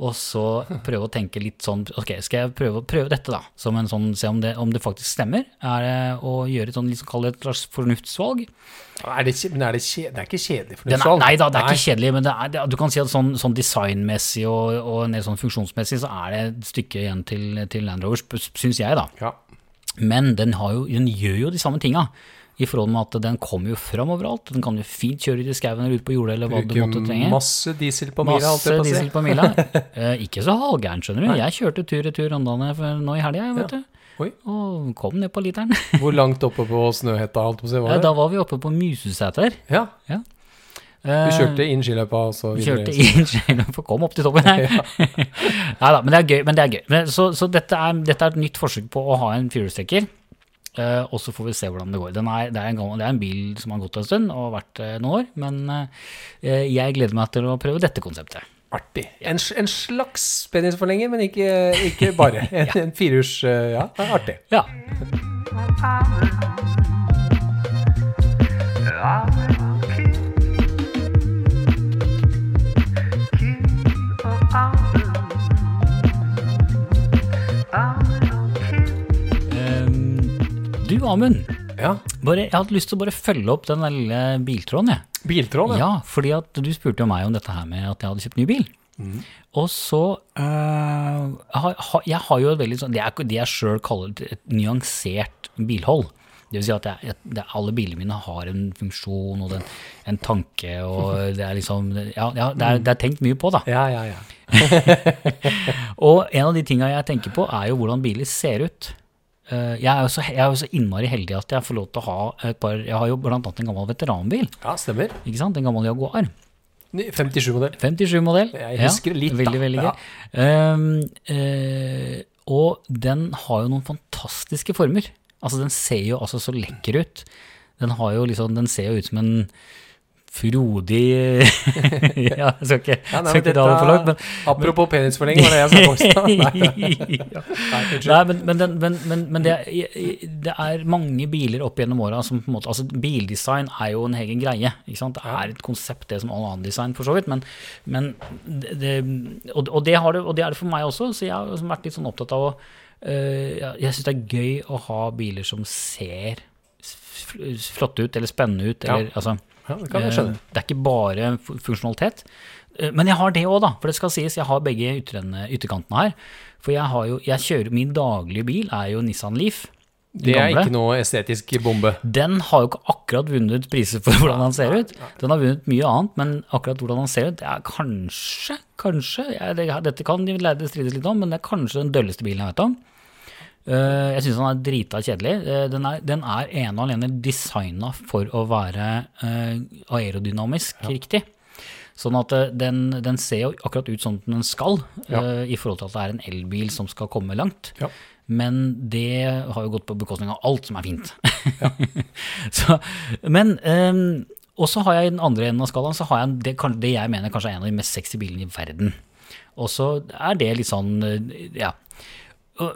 og så prøve å tenke litt sånn Ok, skal jeg prøve, prøve dette, da? Som en sånn, Se om det, om det faktisk stemmer. Er det å gjøre et sånn, liksom, kall det et slags fornuftsvalg?
Er det, kje- men er det, kje, det sånn? er ikke kjedelig for
Den
noe
er,
salg?
nei da, det er ikke kjedelig, men det er, det, du kan si at sånn, sånn designmessig og, og en del sånn funksjonsmessig så er det et stykke igjen til, til Land Rover, syns jeg, da.
Ja.
Men den, har jo, den gjør jo de samme tinga. I forhold med at den kommer jo fram overalt. Den kan jo fint kjøre ut i skauen eller ut på jordet eller hva du måtte
Bruker
trenge.
masse diesel på mila, holdt
Masse
jeg på å si.
diesel på mila. Eh, ikke så halvgæren, skjønner du. Jeg kjørte tur-retur Rondane for- nå i helga, jeg, vet du.
Oi.
Og kom ned på literen.
Hvor langt oppe på Snøhetta, holdt jeg på å si,
Ja,
var
da
det?
var vi oppe på Musesæter.
Ja. Du
Eh,
kjørte inn skiløypa og så
Vi
videre?
Kjørte inn traileren for å komme opp til toppen. Neida, men det er gøy. Men det er gøy. Men, så så dette, er, dette er et nytt forsøk på å ha en firehjulstrekker. Eh, og så får vi se hvordan det går. Den er, det, er en gammel, det er en bil som har gått en stund og vært eh, noen år, men eh, jeg gleder meg til å prøve dette konseptet.
Artig. En, sl- en slags spenningsforlenger, men ikke, ikke bare. En, en firehjuls... eh, Ja, det er artig.
Ja. Ehm, du, Amund,
Ja.
bare, jeg hadde lyst til å bare følge opp den der lille biltråden, jeg.
Biltråd, ja.
Ja, fordi at du spurte jo meg om dette her med at jeg hadde kjøpt ny bil. Og så øh, har, har, Jeg har jo et veldig sånn Det er ikke- det jeg sjøl kaller et et nyansert bilhold. Det vil si at jeg, jeg- det, alle bilene mine har en funksjon og den, en tanke, og det er liksom Ja, ja det, er, det er tenkt mye på, da.
Ja, ja, ja.
Og en av de tinga jeg tenker på, er jo hvordan biler ser ut. Eh, Jeg er jo så, jeg er jo så innmari heldig at jeg får lov til å ha et par Jeg har jo blant annet en gammel veteranbil,
Ja, stemmer.
ikke sant? En gammel Jaguar.
57-modell.
57-modell.
Jeg husker litt, da.
veldig, Veldig,
Ja.
gøy. Ehm, eh, og den har jo noen fantastiske former. Altså, den ser jo altså så lekker ut. Den, har jo liksom, den ser jo ut som en frodig Ja, jeg skal ikke,
Ja, nei,
skal
men
ikke dra det for langt, men
apropos penisforlenger, var det jeg som påstod. Nei, nei, unnskyld.
Nei, men, men, den- men, men, men det, er, det er mange biler opp gjennom åra som på en måte Altså, bildesign er jo en egen greie. Ikke sant? Det er et konsept, det som all annen design, for så vidt. Men, men det, det- og, og, det har det, og det er det for meg også, så jeg har liksom vært litt sånn opptatt av å eh, ja, Jeg syns det er gøy å ha biler som ser f- flotte ut, eller spennende ut,
Ja.
eller altså
Ja, det kan jeg skjønne.
Eh, Det er ikke bare fu- funksjonalitet. Eh, Men jeg har det òg, da. For det skal sies, jeg har begge ytterende- ytterkantene her. For jeg har jo, jeg kjører, min daglige bil er jo Nissan Leaf. den
Det er
gamle.
ikke noe estetisk bombe.
Den har jo ikke akkurat vunnet priser for hvordan han ser ut. Den har vunnet mye annet, men akkurat hvordan han ser ut, det er kanskje, kanskje jeg, det, Dette kan de lærde strides litt om, men det er kanskje den dølleste bilen jeg vet om. Eh, jeg syns den er drita kjedelig. Eh, den, er, den er ene og alene designa for å være eh, aerodynamisk riktig. Sånn at eh, den, den ser jo akkurat ut som den skal,
Ja.
eh, i forhold til at det er en elbil som skal komme langt.
Ja.
Men det har jo gått på bekostning av alt som er fint. så, men ehm, Og så har jeg i den andre enden av skalaen så har jeg en- det, kan- det jeg mener kanskje er en av de mest sexy bilene i verden. Og så er det litt sånn eh, Ja. Og,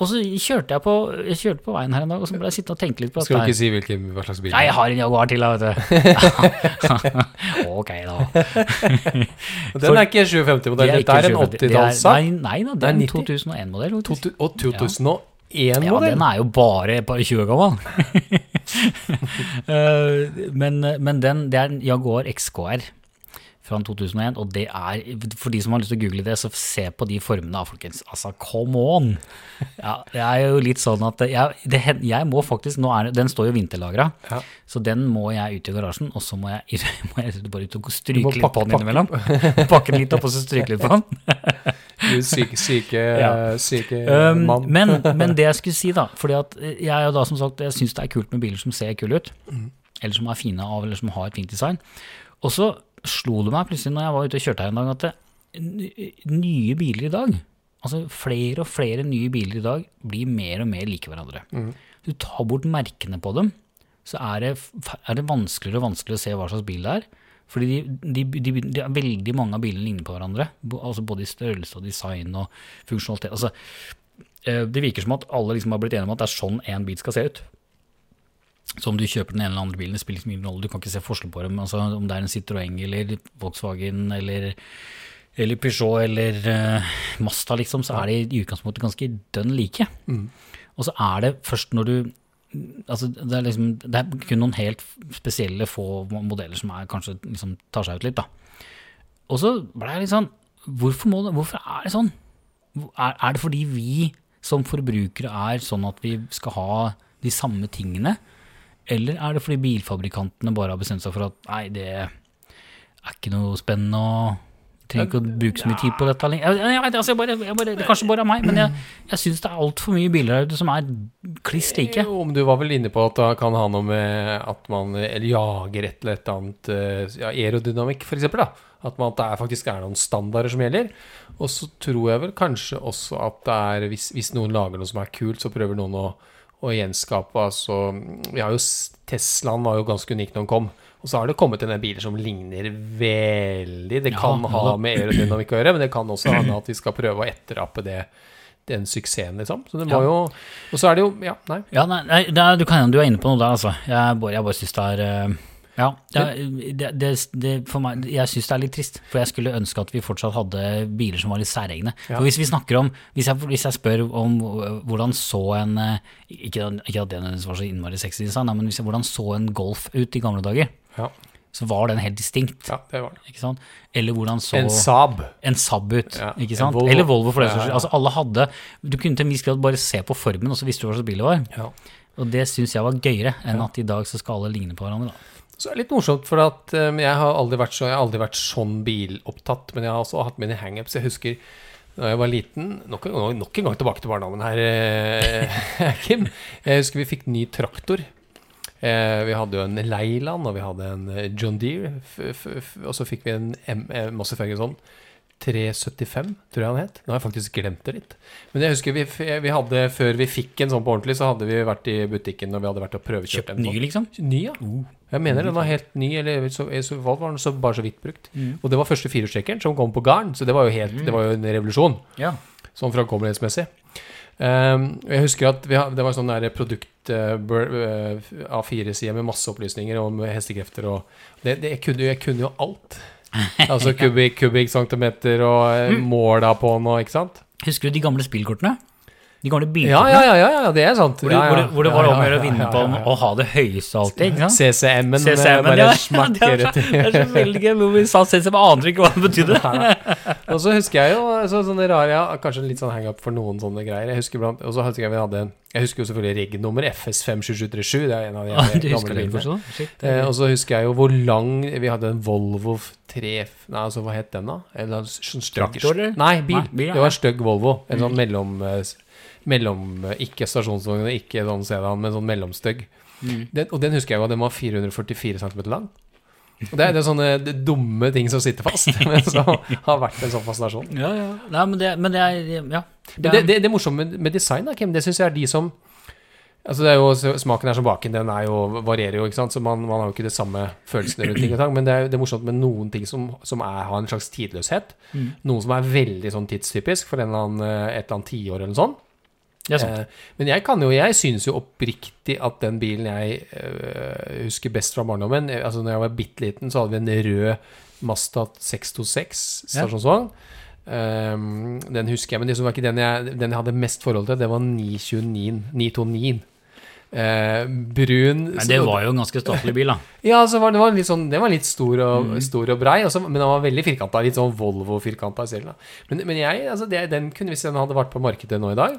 og så kjørte jeg, på, jeg kjørte på veien her en dag, og så ble jeg sitte og tenke litt på
Skal du
her.
ikke si hvilken, hva slags bil
Nei, jeg har en Jaguar til, da, vet du. ok, da.
Den er ikke 750-modell,
er
dette
ikke
er en
750. Det er-
80-tallssak.
Nei, nei da, det
Det er
er en
90.
2001-modell. faktisk.
Og
Ja,
2001-modell?
den er jo bare et par 20 år gammel. Eh, men men den, det er en Jaguar XKR fra en 2001, og det er, for de som har lyst til å google det, så se på de formene, da, folkens. Altså, come on! Ja, det er jo litt sånn at jeg, det, hen- jeg må faktisk, nå er det, den står jo vinterlagra,
Ja.
så den må jeg ut i garasjen, og så må jeg, må jeg bare ut og stryke
må
litt
pakke-
på den innimellom. Pakke den litt opp, og så stryke litt på den.
Gud, Syke, syke,
Ja.
syke
Um,
Eh, mann.
men, men det jeg skulle si, da fordi at jeg er jo da som sagt, jeg syns det er kult med biler som ser kule ut, eller som er fine av, eller som har et fint design. Og så slo det meg plutselig når jeg var ute og kjørte her en dag, at det, n- nye biler i dag, altså flere og flere nye biler i dag, blir mer og mer like hverandre. Du tar bort merkene på dem, så er det, f- er det vanskeligere og vanskeligere å se hva slags bil det er. Fordi de, de, de, de, veldig mange av bilene ligner på hverandre. bo- Altså både i størrelse og design og funksjonalitet. Altså, Eh, Det virker som at alle liksom har blitt enige om at det er sånn en bil skal se ut. Så om du kjøper den ene eller andre bilen, det spiller liksom ingen rolle. Du kan ikke se forskjell på dem. Altså, om det er en Citroën eller Volkswagen eller, eller Peugeot eller eh, Mazda, liksom, så er de i utgangspunktet ganske dønn like. Og så er det først når du altså, det, er liksom, det er kun noen helt spesielle få modeller som er, kanskje liksom, tar seg ut litt. Da. Og så ble jeg litt sånn Hvorfor, må det, hvorfor er det sånn? er, er det fordi vi som forbrukere er sånn at vi skal ha de samme tingene? Eller er det fordi bilfabrikantene bare har bestemt seg for at nei, det er ikke noe spennende og trenger ikke å bruke så mye tid på dette. lenger». Jeg, jeg, vet, altså, jeg bare, jeg bare, det kanskje bare er meg, men jeg, jeg syns det er altfor mye biler der ute som er kliss like.
Jo, men du var vel inne på at det kan ha noe med at man eh, eller jager et eller et annet eh, ja, aerodynamikk, f.eks. At, man, at det er faktisk er noen standarder som gjelder. Og så tror jeg vel kanskje også at det er hvis, hvis noen lager noe som er kult, så prøver noen å, å gjenskape. Altså, vi har jo, s- Teslaen var jo ganske unik når den kom. Og så har det kommet en del biler som ligner veldig. Det
Ja,
kan
ja
ha
da.
med aerodynamikk å gjøre, men det kan også hende at vi skal prøve å etterape det, den suksessen, liksom. Så det må
Ja.
jo Og så er det jo Ja, nei.
Ja, nei, nei det er, du kan hende du er inne på noe der, altså. Jeg bare, jeg bare syns det er eh, Ja. Det, er- det, det, det, for meg, jeg syns det er litt trist, for jeg skulle ønske at vi fortsatt hadde biler som var litt særegne. For hvis vi snakker om hvis jeg, hvis jeg spør om hvordan så en eh, Ikke, ikke at det nødvendigvis var så innmari sexy design, da, men hvis jeg, hvordan så en Golf ut i gamle dager?
Ja.
Så var den helt distinkt.
Ja, det var det.
Ikke sant? Eller hvordan så
En Saab.
en Saab ut,
Ja,
ikke
en
sant?
Volvo.
Eller Volvo, for den
Ja,
saks skyld.
ja.
Altså, alle hadde Du kunne til en viss grad bare se på formen, og så visste du hva slags bil det var.
Ja.
Og det syns jeg var gøyere enn at i dag så skal alle ligne på hverandre. Da.
Så det er litt morsomt, for at eh, jeg har aldri vært, så, jeg har aldri vært sånn bilopptatt, men jeg har også hatt mine hangups. Jeg husker da jeg var liten Nok en gang, nok en gang tilbake til barndommen her, eh, Kim. Jeg husker vi fikk ny traktor. Eh, vi hadde jo en Leiland, og vi hadde en eh, John Deere. F f f og så fikk vi en M eh, Massey Ferguson 375, tror jeg han het. Nå har jeg faktisk glemt det litt. Men jeg husker vi, f vi hadde, før vi fikk en sånn på ordentlig, så hadde vi vært i butikken og vi hadde vært og prøvekjørt
Kjøpt
en.
ny,
sånn.
liksom.
Ny, ja. Jeg mener den var helt ny, eller så, i så fall var den så, bare så vidt brukt. Og det var første firehjulstrekkeren som kom på garn, så det var jo, helt,
Mm.
det var jo en revolusjon,
Ja.
sånn framkommelighetsmessig. Um, og jeg husker at vi, har- Det var en sånn der produkt eh, bur- eh, A4-side med masse opplysninger om hestekrefter og det, det, jeg, kunne, jo- jeg kunne jo alt. Altså kubikk, kubikkcentimeter og eh,
Mm.
måla på den og ikke sant?
Husker du de gamle spillkortene? De gamle
Ja,
bilkortene?
ja, ja, ja, ja det er sant.
Hvor, du-
Ja, ja.
hvor, det- hvor det
Ja,
var
ja,
om å gjøre å
ja,
vinne
ja,
på
ja, ja.
å ha det høyeste alltid. ikke sant?
CCM-en eh,
CCM,
bare
ja, ja, det
smakker
er så,
rett i
det er så veldig gøy hvor vi sa CCM, jeg aner ikke hva det betydde.
Og så husker jeg jo så, sånne rare ja, Kanskje litt sånn hang-up for noen sånne greier. Jeg husker blant, og så husker jeg vi hadde Jeg husker jo selvfølgelig reg-nummer FS52737. Det er en av de
Du
gamle
husker det
bilene.
fortsatt? Shit.
Eh, og så husker jeg jo hvor lang Vi hadde en Volvo 3 Nei, altså hva het den, da? En eller annen sånn stygg
Traktor, eller?
Nei, bil.
Nei, bil, ja. Mm.
Det var en stygg Volvo. En sånn mellom... eh, s- mellom eh, Ikke stasjonsvogn, ikke sånn sedan, men sånn mellomstygg.
Mm.
Den, og den husker jeg jo at den var 444 cm lang. Og det er, det er sånne dumme ting som sitter fast, men som har vært en sånn fascinasjon.
Ja, ja. Nei, men det, men det er Ja.
Men det, det, det morsomme med- med design, da, Kim, det syns jeg er de som Altså det er jo, Smaken er som baken, den er jo, varierer jo, ikke sant? så man, man har jo ikke det samme følelsene rundt ting. og tang, Men det er, jo- det er morsomt med noen ting som, som er, har en slags tidløshet. Noen som er veldig sånn tidstypisk for en eller annen, eh, et eller annet tiår eller noe sånt.
det er sånn. sant.
Eh, Men jeg kan jo, jeg syns jo oppriktig at den bilen jeg eh, husker best fra barndommen eh, Altså når jeg var bitte liten, så hadde vi en rød Mazda 626
Ja.
stasjonsvogn. Ehm, den husker jeg, men liksom var ikke den jeg, den jeg hadde mest forhold til, det var 929. 929. Eh, brun
Men det var jo en ganske statlig bil, da.
Ja, så var, det var litt sånn, den var litt stor og,
Mm.
stor og brei, og så- men den var veldig firkanta. Litt sånn Volvo-firkanta i stilen. da. Men, men jeg, altså, det, den kunne, hvis den hadde vært på markedet nå i dag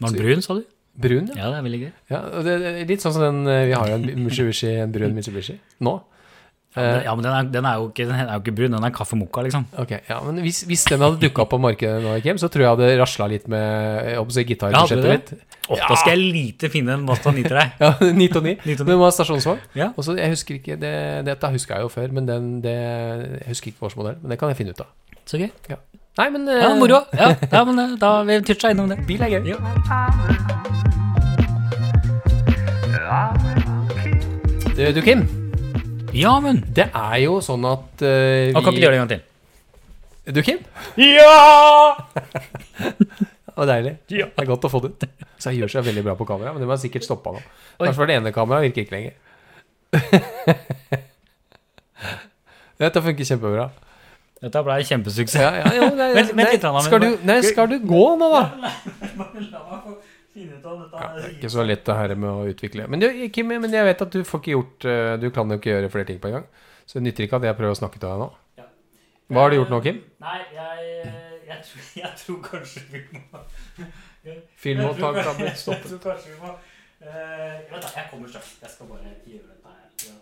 Var den brun, sa du?
Brun, ja.
Ja, det er veldig gøy.
Ja, og det, det er litt sånn som den eh, Vi har jo en Mitsubishi, en brun
Mm.
Mitsubishi nå.
Ja, men, ja, men den, er, den, er jo ikke, den er jo ikke brun, den er kaffe mokka, liksom.
Ok, ja, men Hvis, hvis den hadde dukka opp på markedet nå, Kim, så tror jeg hadde rasla litt med jeg håper å si, gitarbudsjettet
Ja, hadde
mitt.
Å, da skal jeg lite finne en Mazda 9 til deg.
Ja, 9 og
Ni til ni.
9. Den var stasjonsvogn.
Ja.
Og så, jeg husker ikke, det, Dette huska jeg jo før, men den, det, jeg husker ikke årsmodell. Men det kan jeg finne ut av.
Så gøy.
Nei, men eh,
Ja, moro. Ja, ja men eh, da vi toucha innom det. Bil er gøy. Ja.
eh, Du, du, Kim,
Ja, men
det er jo sånn at eh,
Da kan ikke du gjøre det en gang til.
Du, Kim?
Ja!
Det var deilig.
Ja.
Det er godt å få det ut. Så jeg gjør seg veldig bra på kamera, men det var sikkert stoppa nå. Kanskje for det ene kameraet virker ikke lenger. Dette funker kjempebra.
Dette ble en kjempesuksess.
Ja, ja, jo, nei,
Vent- vent
nei,
litt, Anna, men-
skal, du, nei, skal du gå nå, da? Ja, det er ikke så lett det her med å utvikle. Men du, Kim, men jeg vet at du får ikke gjort eh, Du kan jo ikke gjøre flere ting på en gang. Så det nytter ikke at jeg prøver å snakke til deg nå. Hva har du gjort nå, Kim?
Nei, jeg, eh, jeg, tror, jeg tror kanskje vi må
Filmopptak kan bli
Jeg
stoppet.
tror kanskje vi må eh, Vent, da. Jeg kommer straks. Jeg skal bare gjøre dette her. Ja.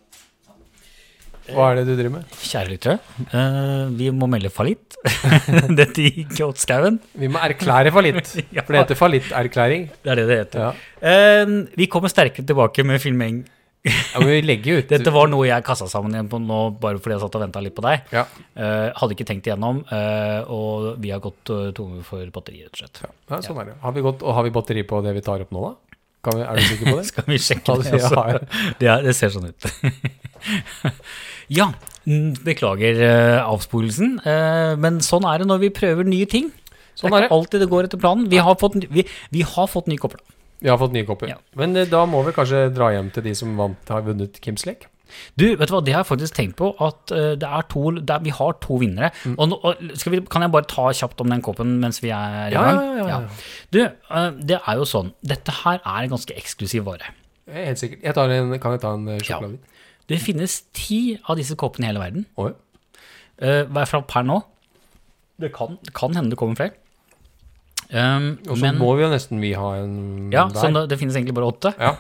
Hva er det du driver med?
Kjære lyttere, eh, vi må melde fallitt. dette gikk åt skauen.
Vi må erklære fallitt. For det heter fallitterklæring.
Det er det det heter.
Ja.
Eh, vi kommer sterkere tilbake med filming.
Ja, men vi legger jo ut
Dette var noe jeg kassa sammen igjen på nå, bare fordi jeg satt og venta litt på deg.
Ja.
Eh, hadde ikke tenkt igjennom, eh, og vi har gått uh, tomme for batteri, rett og slett.
Ja, ja, sånn er det. Har vi, gått, og har vi batteri på det vi tar opp nå, da? Kan vi, er du sikker på det?
Skal vi sjekke
Ja,
det?
det
altså?
har jeg.
Det, er, det ser sånn ut. ja, mm, beklager eh, avsporelsen, eh, men sånn er det når vi prøver nye ting.
Sånn
det
er
er ikke alltid det går etter planen. Vi har fått, ny- vi, vi har fått ny kopper.
Vi har fått nye kopper.
Ja.
Men eh, da må vi kanskje dra hjem til de som vant, har vunnet Kims lek.
Du, vet du hva, det har jeg faktisk tenkt på, at eh, det er to, det er, vi har to vinnere.
Mm.
Og, nå- og skal vi, kan jeg bare ta kjapt om den koppen mens vi er i
Ja,
gang?
ja, ja, ja.
Du, eh, det er jo sånn, dette her er en ganske eksklusiv vare.
Eh, Helt sikkert. Jeg tar en, kan jeg ta en eh,
Ja.
sjokoladebit?
Det finnes ti av disse koppene i hele verden,
Oi.
eh, i hvert fall per nå. Det kan, kan hende det kommer flere. Um,
Og så
men,
må vi jo nesten vi ha en
ja,
der.
så det, det finnes egentlig bare åtte.
Ja.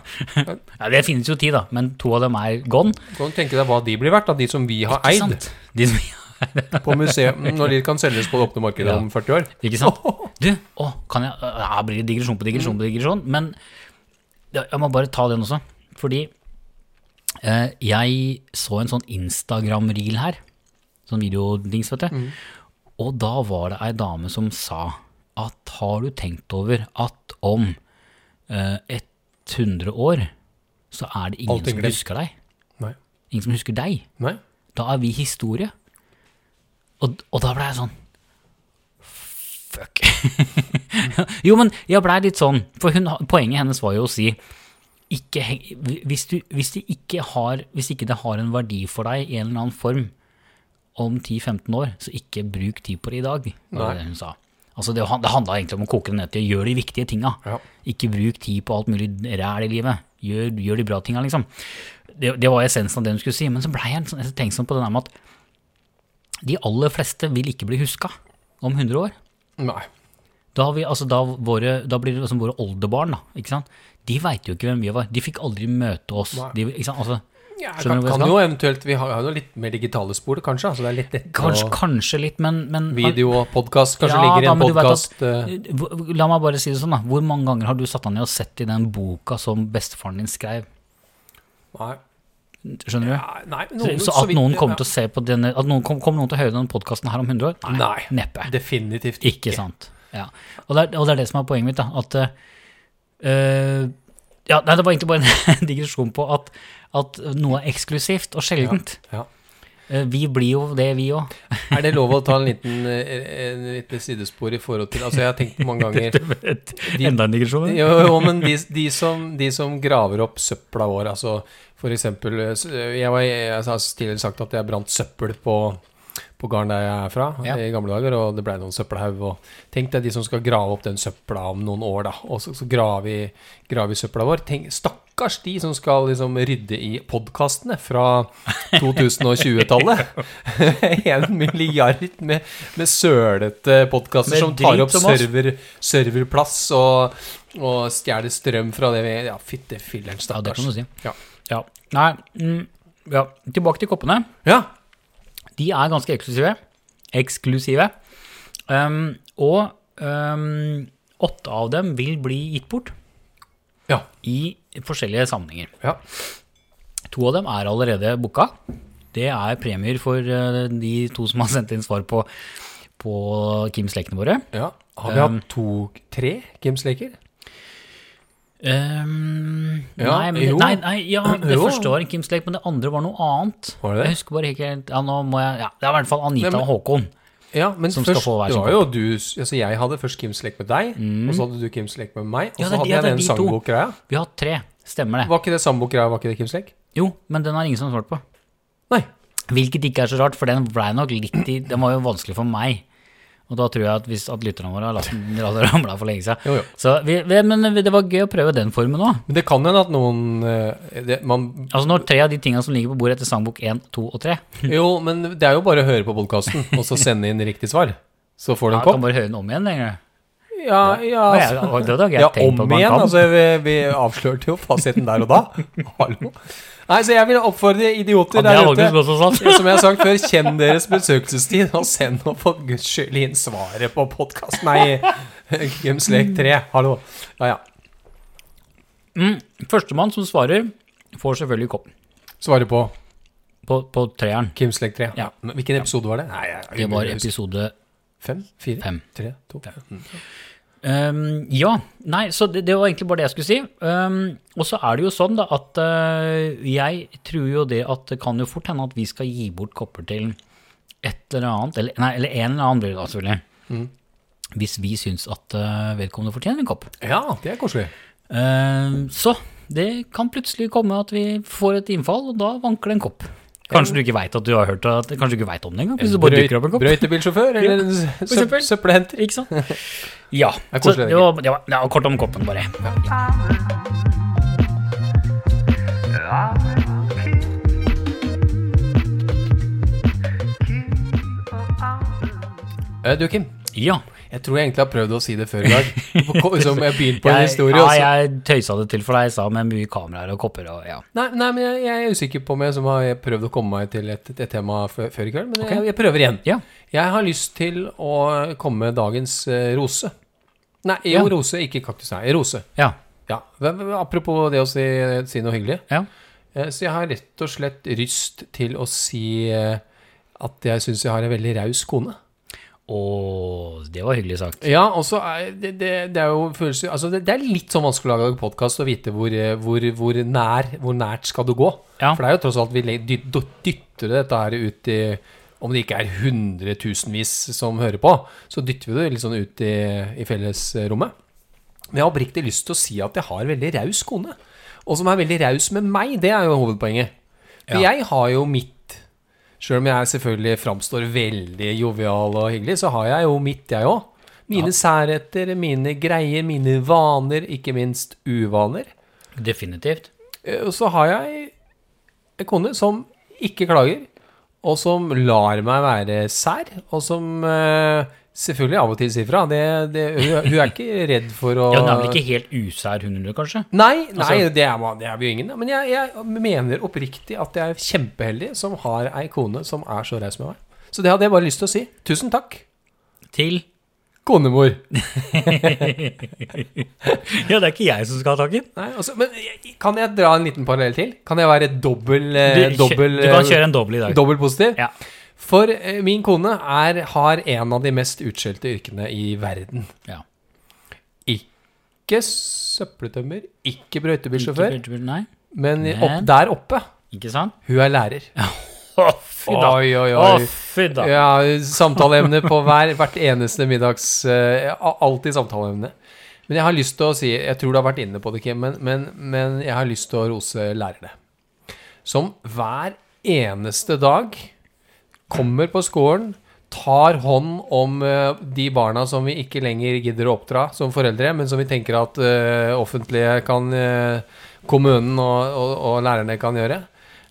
Ja, det finnes jo ti, da, men to av dem er gone.
Så kan du tenke deg hva de blir verdt, da, de som vi har
Ikke
eid
sant? De som
på museum, når de kan selges på det åpne markedet
Ja.
om 40 år.
Ikke sant? Du, å, kan jeg Her blir det digresjon på digresjon
Mm.
på digresjon, men ja, jeg må bare ta den også. Fordi eh, jeg så en sånn Instagram-reel her, sånn videodings, vet
Mm.
du. Og da var det ei dame som sa at har du tenkt over at om eh, 100 år så er det ingen
Alt er
som
glemt.
husker deg?
Nei.
Ingen som husker deg?
Nei.
Da er vi historie. Og, og da ble jeg sånn Fuck. jo, men jeg blei litt sånn, for hun, poenget hennes var jo å si ikke, heng- hvis, du, hvis, det ikke har, hvis ikke det har en verdi for deg i en eller annen form om 10-15 år, så ikke bruk tid på det i dag, var
Nei.
det hun sa. Altså det, han- det handla egentlig om å koke det ned til å gjøre de viktige tinga.
Ja.
Ikke bruk tid på alt mulig ræl i livet. Gjør, gjør de bra tinga, liksom. Det, det var essensen av det hun skulle si. Men så blei jeg sånn, tenksom på det der med at de aller fleste vil ikke bli huska om 100 år.
Nei.
Da, har vi, altså, da, våre, da blir det liksom våre oldebarn, da, ikke sant? de veit jo ikke hvem vi var. De fikk aldri møte oss.
Nei.
De, ikke sant? Altså,
Ja,
Skjønner du
kan,
hva jeg
kan
skal?
jo eventuelt Vi har har jo litt mer digitale spor, kanskje. Altså det er litt lett
Kanskje,
å
kanskje litt, men, men
Video og podkast kanskje
Ja,
ligger i
da,
en eh,
men du vet
podkast.
Hvor- La meg bare si det sånn, da. Hvor mange ganger har du satt deg ned og sett i den boka som bestefaren din skrev?
Nei,
Skjønner du?
nei, nei
Så- så at noen kommer til å se på denne At noen kom- kommer noen til å høre denne podkasten her om 100 år? Nei.
Nei.
Neppe.
Definitivt
Ikke sant. Ja. Og, det er, og det er det som er poenget mitt, da. At eh, Ja, nei, det var egentlig bare en digresjon på at, at noe er eksklusivt og sjeldent.
Ja.
Eh, Vi blir jo det, vi òg.
Er det lov å ta en liten eh, en liten sidespor i forhold til Altså, jeg har tenkt mange ganger de-
Enda en digresjon? eller?
Jo, jo men de, de, som, de som graver opp søpla vår, altså for eksempel eh, s- Jeg, var, jeg har tidligere sagt at jeg brant søppel på, på gården der jeg er fra
Ja.
i gamle dager, og det blei noen søppelhaug. og Tenk deg de som skal grave opp den søpla om noen år, da, og så, så grave, i, grave i søpla vår. Tenk, stakkars de som skal liksom rydde i podkastene fra 2020-tallet. en milliard med, med sølete podkaster
Med
som tar
drit
opp
som oss.
server, serverplass og, og stjeler strøm fra det vi Ja, fytte filleren,
Ja, det
stakkars.
kan du si.
Ja.
Ja. Nei, mm, ja. Tilbake til koppene.
Ja,
De er ganske eksklusive. Eksklusive. Um, og um, åtte av dem vil bli gitt bort
ja,
i forskjellige sammenhenger.
ja.
To av dem er allerede booka. Det er premier for eh, de to som har sendt inn svar på, på Kims lekene våre.
ja. Har vi
Um,
hatt to-tre Games Leker?
Um,
Ja,
nei, men,
jo.
nei, nei, ja, det
Jo.
første var en Kims lek, men det andre var noe annet.
Var det det?
Jeg husker bare ikke helt ja, nå må jeg, ja, Det er i hvert fall Anita
Nei, men-
og Håkon.
Ja, men
Som skal
først,
få hver
det
sin Mm.
var jo du Altså, jeg hadde først Games Lek med deg, og så hadde du Games Lek med meg, og
Ja,
så
det er-
hadde
ja,
jeg
det er
den
de to.
sangbokgreia.
Vi har hatt tre, stemmer det?
Var ikke det sambokgreia, var ikke det Games Lek?
Jo, men den har ingen som har svart på.
Nei.
Hvilket ikke er så rart, for den ble nok litt i Den var jo vanskelig for meg. Og da tror jeg at, hvis, at lytterne våre har latt den ramle for lenge siden.
Jo, jo.
Så vi, vi, men det var gøy å prøve den formen òg.
Men det kan hende at noen eh, det, man,
Altså når tre av de tinga som ligger på bordet etter sangbok 1, 2 og 3
Jo, men det er jo bare å høre på podkasten, og så sende inn riktig svar. Så får du
ja,
en
Kan
kopp.
bare høre den om igjen. lenger.
Ja, ja,
Og jeg,
altså.
og det hadde jeg
ja
tenkt
om
på at man
igjen.
kan.
Altså, vi, vi avslørte jo fasiten der og da. Hallo. Nei, så jeg vil oppfordre
Ja,
idioter
det er faktisk
der ute.
også sant.
Som jeg har sagt før, kjenn deres besøkelsestid, og send nå for guds skyld inn svaret på podkasten. Nei, Games Lek 3. Hallo. Ja, ja.
Mm. Førstemann som svarer, får selvfølgelig kopp
Svaret på
på, på treeren.
Kims Lek 3.
Ja.
Men Hvilken episode var det? Nei, jeg,
Det var episode
Fem? Fire?
Fem.
Tre? To?
Um, ja. Nei, så det, det var egentlig bare det jeg skulle si. Um, og så er det jo sånn da at eh, jeg tror jo det at det kan jo fort hende at vi skal gi bort kopper til et eller annet, eller, nei, eller en eller annen blir det da selvfølgelig.
Mm.
Hvis vi syns at eh, vedkommende fortjener en kopp.
Ja, det er koselig.
Eh, så det kan plutselig komme at vi får et innfall, og da vanker det en kopp. Kanskje du ikke veit at du har hørt at, Kanskje du ikke vet om det engang. Hvis du bare dukker opp en kopp.
Brøytebilsjåfør eller en søp,
eksempel.
søppelhenter.
Ikke sant? Ja.
Det er
så
koselig,
det var, det var, det var kort om koppen, bare.
Eh, Du, Kim.
Ja.
Jeg tror jeg egentlig har prøvd å si det før i dag. Som jeg begynte på en historie.
ja,
altså. og så-
jeg tøysa det til for deg i stad med mye kameraer og kopper og ja.
Nei, nei, men jeg, jeg er usikker på om jeg som har prøvd å komme meg til et, et tema før, før i kveld, men jeg, jeg prøver igjen.
ja.
Jeg har lyst til å komme med dagens eh, rose. Nei, jo,
Ja.
rose, ikke kaktus. Nei, rose.
Ja.
Ja, hvem- hvem- Apropos det å si, si noe hyggelig.
Ja.
Eh, Så jeg har rett og slett lyst til å si eh, at jeg syns jeg har en veldig raus kone.
Og det var hyggelig sagt.
Ja, og så er det, det, det er jo følelser Altså, det, det er litt sånn vanskelig å lage podkast og vite hvor, eh, hvor, hvor, nær, hvor nært skal du gå.
Ja.
For det er jo tross alt vi le- dy- dy- dytter dette her ut i Om det ikke er hundretusenvis som hører på, så dytter vi det litt sånn ut i, i fellesrommet. Men jeg har oppriktig lyst til å si at jeg har en veldig raus kone. Og som er veldig raus med meg, det er jo hovedpoenget. For
Ja.
jeg har jo mitt Sjøl om jeg selvfølgelig framstår veldig jovial og hyggelig, så har jeg jo mitt, jeg òg. Mine særheter, mine greier, mine vaner, ikke minst uvaner.
Definitivt.
Eh, Og så har jeg en kone som ikke klager, og som lar meg være sær, og som eh, selvfølgelig av og til si fra. Det, det, hun, hun er ikke redd for å
Ja, Hun er vel ikke helt usær hundelue, kanskje?
Nei, nei
Altså-
det, er, man- det er vi jo ingen. da. Men jeg, jeg mener oppriktig at jeg er kjempeheldig som har ei kone som er så raus med meg. Så det hadde jeg bare lyst til å si. Tusen takk,
Til
konemor.
Ja, det er ikke jeg som skal ha takken.
Nei, altså, men jeg- kan jeg dra en liten parallell til? Kan jeg være dobbel, eh,
Du, kjø-
dobbel,
du kan
eh,
kjøre en dobbel i dag.
dobbel positiv?
Ja.
For eh, min kone er, har en av de mest utskjelte yrkene i verden.
Ja.
Ikke søppeltømmer, ikke brøytebilsjåfør,
Ikke, nei,
men i- opp,
Men-
der oppe,
ikke sant?
hun er lærer.
Å, fy da.
Oi, oi,
Å,
oi.
fy da.
Ja, samtaleemne på hver, hvert eneste middags eh, a- Alltid samtaleemne. Men jeg har lyst til å si Jeg tror du har vært inne på det, Kim, men, men, men jeg har lyst til å rose lærerne. Som hver eneste dag kommer på skolen, tar hånd om eh, de barna som vi ikke lenger gidder å oppdra som foreldre, men som vi tenker at eh, offentlige kan eh, Kommunen og, og, og lærerne kan gjøre.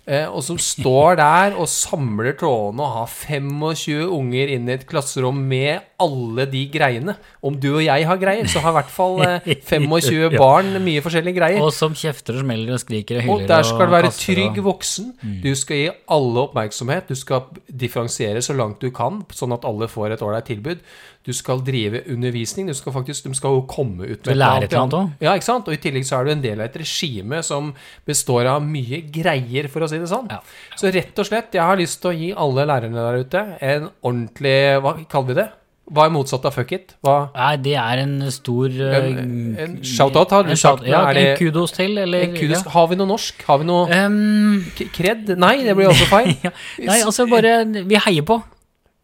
Eh, og som står der og samler trådene og har 25 unger inne i et klasserom med alle de greiene. Om du og jeg har greier, så har i hvert fall eh, 25 barn mye forskjellige greier.
Og som kjefter og smeller og skriker og hyller.
Og der skal du være
kaster
trygg
og- Mm.
voksen. Du skal gi alle oppmerksomhet. Du skal differensiere så langt du kan, sånn at alle får et ålreit tilbud. Du skal drive undervisning. Du skal faktisk, de skal jo komme ut
Du lærer et eller annet
Ja, ikke sant? Og i tillegg så er du en del av et regime som består av mye greier, for å si det sånn.
Ja.
Så rett og slett, jeg har lyst til å gi alle lærerne der ute en ordentlig Hva kaller vi det? Hva er motsatt av fuck it? Hva
Nei, det er en stor eh,
En- en shout-out har du
en
sagt,
shout- Ja,
men er
en
det-
kudos til, eller
en kudos,
ja.
Har vi noe norsk? Har vi noe
Ehm,
k- kred? Nei, det blir også feil.
ja. Nei, altså bare Vi heier på.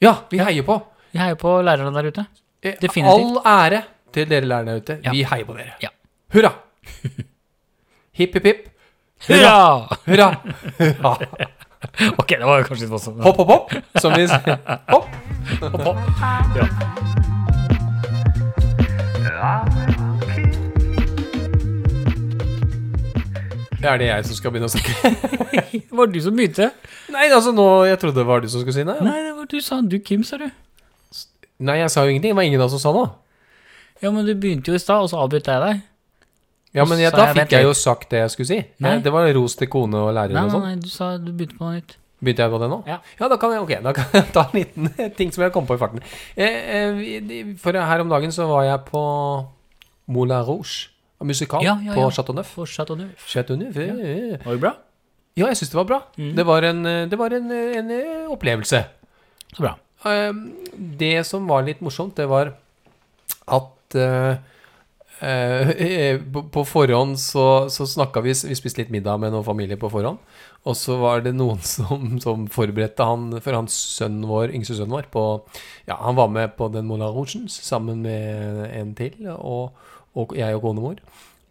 Ja, vi heier på.
Vi heier på lærerne der ute.
Eh,
Definitivt.
All ære til dere lærerne ute.
Ja.
Vi heier på dere.
Ja.
Hurra! Hipp, hipp, hipp.
Hurra!
Hurra! Hurra.
Ok, det var kanskje litt voldsomt.
Hopp, hopp, hopp. Som vi sier. Hopp.
hopp, hopp.
Det er det jeg som skal begynne å snakke.
Det var du som begynte.
Nei, altså nå, jeg trodde det var du som skulle si det.
Nei, det var du sa. Du, Kim, sa du.
Nei, jeg sa jo ingenting. Det var ingen av oss som sa noe.
Ja, men du begynte jo i stad, og så avbrøt jeg deg.
Ja, men jeg,
Så
da
jeg vet
fikk jeg jo
litt.
sagt det jeg skulle si.
Nei.
Det var ros til kone og lærere
Nei, nei,
og sånn.
nei, du sa du begynte på noe nytt.
Begynte jeg på det nå?
Ja.
da kan jeg, ok, da kan jeg ta en liten ting som jeg kom på i farten. Eh, eh, vi- de- For her om dagen så var jeg på Moulin Rouge, en musikal
Ja, ja,
på
ja.
Chateau Neuf.
Fortsatt og du.
Chateau Neuf, ja. ja.
Var det bra?
ja, jeg syns det var bra.
Mm.
Det var en, eh, det var en, eh, en eh, opplevelse.
Så bra.
Eh, Det som var litt morsomt, det var at eh, eh, på- på forhånd så, så snakka vi Vi spiste litt middag med noen familier på forhånd. Og så var det noen som, som forberedte han for hans sønn vår, yngste sønnen vår på Ja, han var med på den Moulin Rougen sammen med en til, og, og jeg og konemor.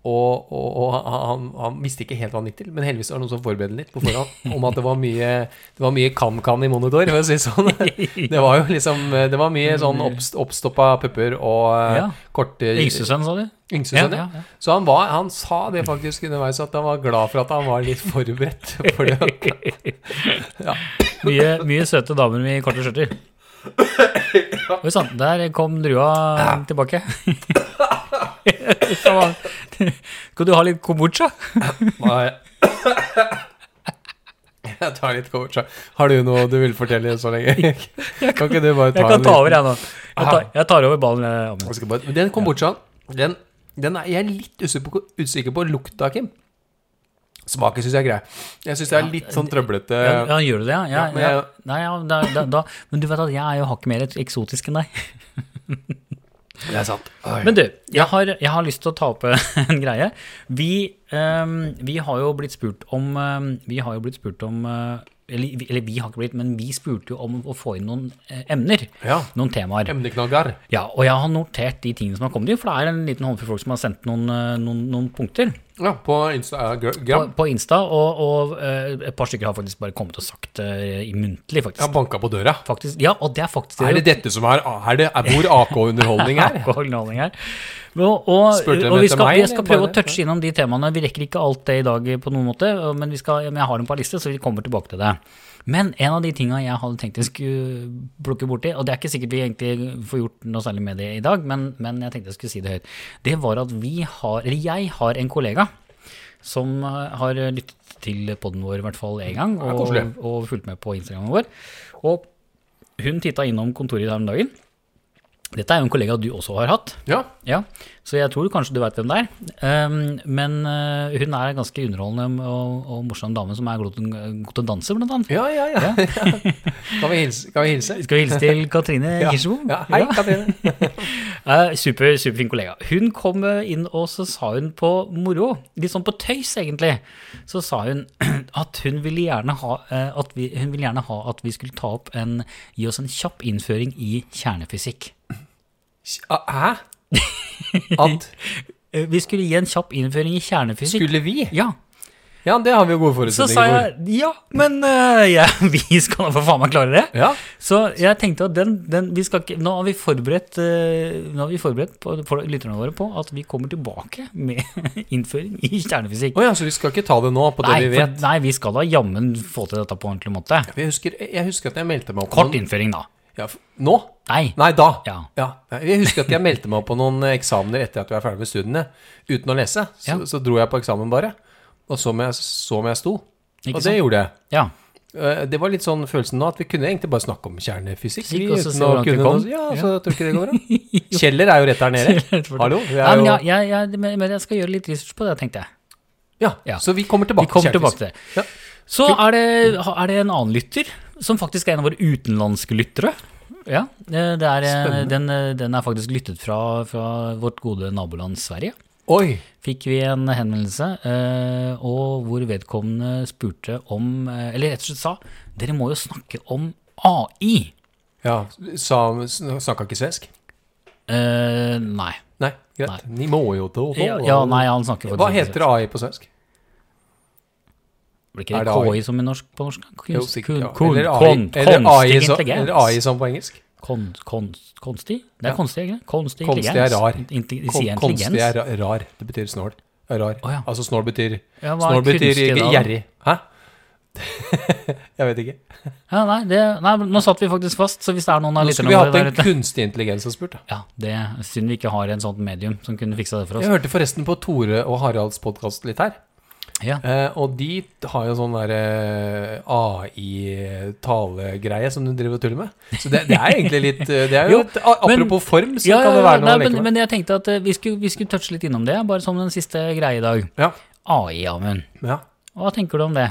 Og, og, og han, han visste ikke helt hva han gikk til, men heldigvis var det noen som forberedte litt på forhånd om at det var mye Det var mye kan-kan i monitor, for å si det sånn. Det var jo liksom Det var mye sånn oppst, oppstoppa pupper og eh,
Ja.
korte
Yngstesønn, sa du?
Yngste sønn, ja.
Ja, ja, ja.
Så han, var, han sa det faktisk underveis, at han var glad for at han var litt forberedt. For det.
Mye, mye søte damer med korte skjørter. Oi sann, der kom drua tilbake. Så var- Skal du ha litt kombucha?
Nei. Jeg tar litt kort, så. Har du noe du vil fortelle så lenge? Kan ikke du bare ta
Jeg kan
en
ta
liten-
over, jeg nå. Jeg tar, jeg tar over ballen. jeg, Amund.
Jeg skal bare- men Den kom bort sånn. Den, den er jeg er litt usikker på, usikker på lukta, Kim. Smaken syns jeg er grei. Jeg syns det er litt sånn trøblete
Ja, ja, gjør du det? Ja, ja,
Ja, men
ja.
jeg-
Nei, ja da, da, da. Men du vet at jeg er jo hakket mer eksotisk enn deg.
Det er sant. Oi.
Men du, jeg har, jeg har lyst til å ta opp en greie. Vi, ehm, vi har jo blitt spurt om ehm, Vi har jo blitt spurt om eh, eller, vi- eller vi har ikke blitt, men vi spurte jo om å få inn noen eh, emner.
Ja.
Noen temaer.
Emneknagger.
Ja, og jeg har notert de tingene som har kommet inn, for det er en liten håndfull folk som har sendt noen, eh, noen, noen punkter
Ja, på
på,
Instagram.
på Insta. Og, og eh, et par stykker har faktisk bare kommet og sagt uh, muntlig,
Jeg har
faktisk.
banka på døra.
faktisk. Ja, og det er faktisk
Er det dette som er Er det er hvor AK-underholdning er?
alkoholholdning her. Og, og,
Spurte de
og vi
etter
skal,
meg,
jeg skal
eller
prøve å
bare-
touche innom de temaene. Vi rekker ikke alt det i dag eh, på noen måte, og- men, vi skal, men jeg har dem på en liste, så vi kommer tilbake til det. Men en av de tinga jeg hadde tenkt jeg skulle plukke borti, og det er ikke sikkert vi egentlig får gjort noe særlig med det i dag, men, men jeg tenkte jeg skulle si det høyt, det var at vi har, eller jeg har en kollega som eh, har lyttet til podden vår i hvert fall én gang,
Ja,
og,
koselig.
og fulgt med på Instagramen vår. Og hun titta innom kontoret i dag om dagen. Dette er jo en kollega du også har hatt.
Ja.
Ja, så jeg tror kanskje du veit hvem det er. Ehm, men eh, hun er en ganske underholdende og, og morsom dame som er god til, god til å danse, blant annet.
Ja, ja, ja. Kan vi hilse? Kan vi hilse?
Skal vi hilse til Katrine
Ja.
Kirsebo?
Ja, hei, Katrine.
Eh, super, superfin kollega. Hun kom eh, inn, og så sa hun på moro, litt sånn på tøys egentlig, så sa hun at hun ville gjerne ha, eh, at, vi, hun ville gjerne ha at vi skulle ta opp en, gi oss en kjapp innføring i kjernefysikk.
Hæ? At
Eh, vi skulle gi en kjapp innføring i kjernefysikk.
skulle vi?
Ja,
Ja, det har vi jo gode
Så
forutsetninger
sa
for.
jeg ja, men eh, ja, vi skal da for faen meg klare det.
Ja.
Så jeg tenkte at den, den vi skal ikke, nå har vi forberedt, eh, nå har vi forberedt på, for lytterne våre på at vi kommer tilbake med innføring i kjernefysikk.
Å ja, så vi skal ikke ta det nå på det
Nei,
vi
for,
vet?
nei, vi skal da jammen få til dette på en ordentlig måte.
Jeg husker, jeg husker at jeg meldte meg opp på
Kort
noen
innføring, da.
ja, f- Nå?
Nei.
Nei, da.
Ja.
Nei, Jeg husker at jeg meldte meg opp på noen eksamener etter at jeg var ferdig med studiene, uten å lese. Så,
Ja.
så dro jeg på eksamen bare, og så om jeg, så om jeg sto.
Ikke
og det
sant?
gjorde jeg.
Ja.
Eh, Det var litt sånn følelsen nå at vi kunne egentlig bare snakke om kjernefysikk.
Fysikk,
vi,
og så
uten
se
å
hvor langt vi
kunne
kom.
noe- Ja, så tror du ikke det går bra? Kjeller er jo rett der nede. Hallo? vi er
Nei, men,
jo-
jeg, jeg, jeg, men men jeg skal gjøre litt research på det, tenkte jeg.
ja,
Ja.
Så vi kommer
Vi
tilbake
kommer tilbake til det.
Ja.
Så er det, er det en annen lytter, som faktisk er en av våre utenlandske lyttere. Ja, eh, det er, eh,
Spennende.
den, eh, den er faktisk lyttet fra, fra vårt gode naboland Sverige.
Oi.
Fikk vi en henvendelse, eh, og hvor vedkommende spurte om eh, Eller rett og slett sa dere må jo snakke om AI.
Ja, sa, snakka ikke svensk?
Eh, nei.
Nei, greit. Ni må jo til
Ja, ja, nei, han snakker faktisk
Hva heter AI på svensk?
Blir ikke
er
det
det AI?
KI som i norsk på norsk? Kunst,
Jo, sikkert, ja.
kun, kun,
Eller AI
kon,
eller AI
kunstig
som-
intelligens.
eller AI som på engelsk?
Kon, konst, konstig? Det er konstig, ikke det? Konstig
Konstig er
intelligens.
rar.
Intelli-
Kon-
sier intelligens.
Konstig er ra- rar. Det betyr snål. Er Rar.
Å, ja.
Altså snål betyr
Ja, hva er
Snål betyr
kunstig da, da?
gjerrig. Hæ? Jeg vet ikke.
Ja, nei, det, nei, men nå satt vi faktisk fast, så hvis det er noen av
Nå
lytterne
skulle vi
våre
hatt
der
en
ute
kunstig intelligens og spurt. da.
Ja, det er synd vi ikke har en sånt medium som kunne fiksa det for
Jeg
oss.
hørte forresten på Tore og Haralds podkast litt her.
Ja.
Eh, og de har jo sånn der eh, AI-talegreie som du driver og tuller med. Så det, det er egentlig litt eh, Det er jo,
Jo,
et, a-
men-
Apropos form, så
Ja,
kan det
ja,
være noe
nei,
å leke
men,
med.
men jeg tenkte at eh, vi skulle, vi skulle touche litt innom det, bare som den siste greie i dag.
Ja,
AI, Amund.
ja.
Hva tenker du om det?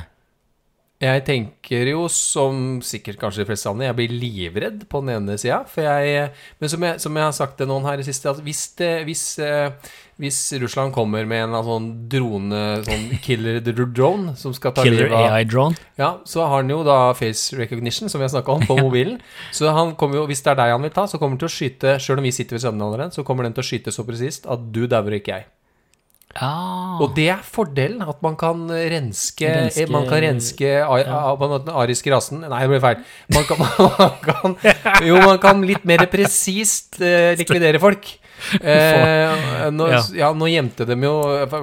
Jeg tenker jo, som sikkert kanskje de fleste andre, jeg blir livredd på den ene sida. For jeg Men som jeg, som jeg har sagt til noen her i det siste, at hvis, det, hvis, eh, hvis Russland kommer med en eller annen sånn drone, sånn killer drone, som skal ta
Killer
livet av
AI drone?
Ja, så har han jo da face recognition, som vi har snakka om, på mobilen. Så han kommer jo, hvis det er deg han vil ta, så kommer han til å skyte Sjøl om vi sitter ved siden av hverandre, så kommer den til å skyte så presist at du dauer og ikke jeg.
Ah,
Og det er fordelen, at man kan renske,
Renske-
Man kan renske a- a- på en måte den ariske rasen Nei, det ble feil. Man kan, man kan, jo, man kan litt mer presist eh, likvidere folk. Eh, nå,
Ja.
ja, nå gjemte de jo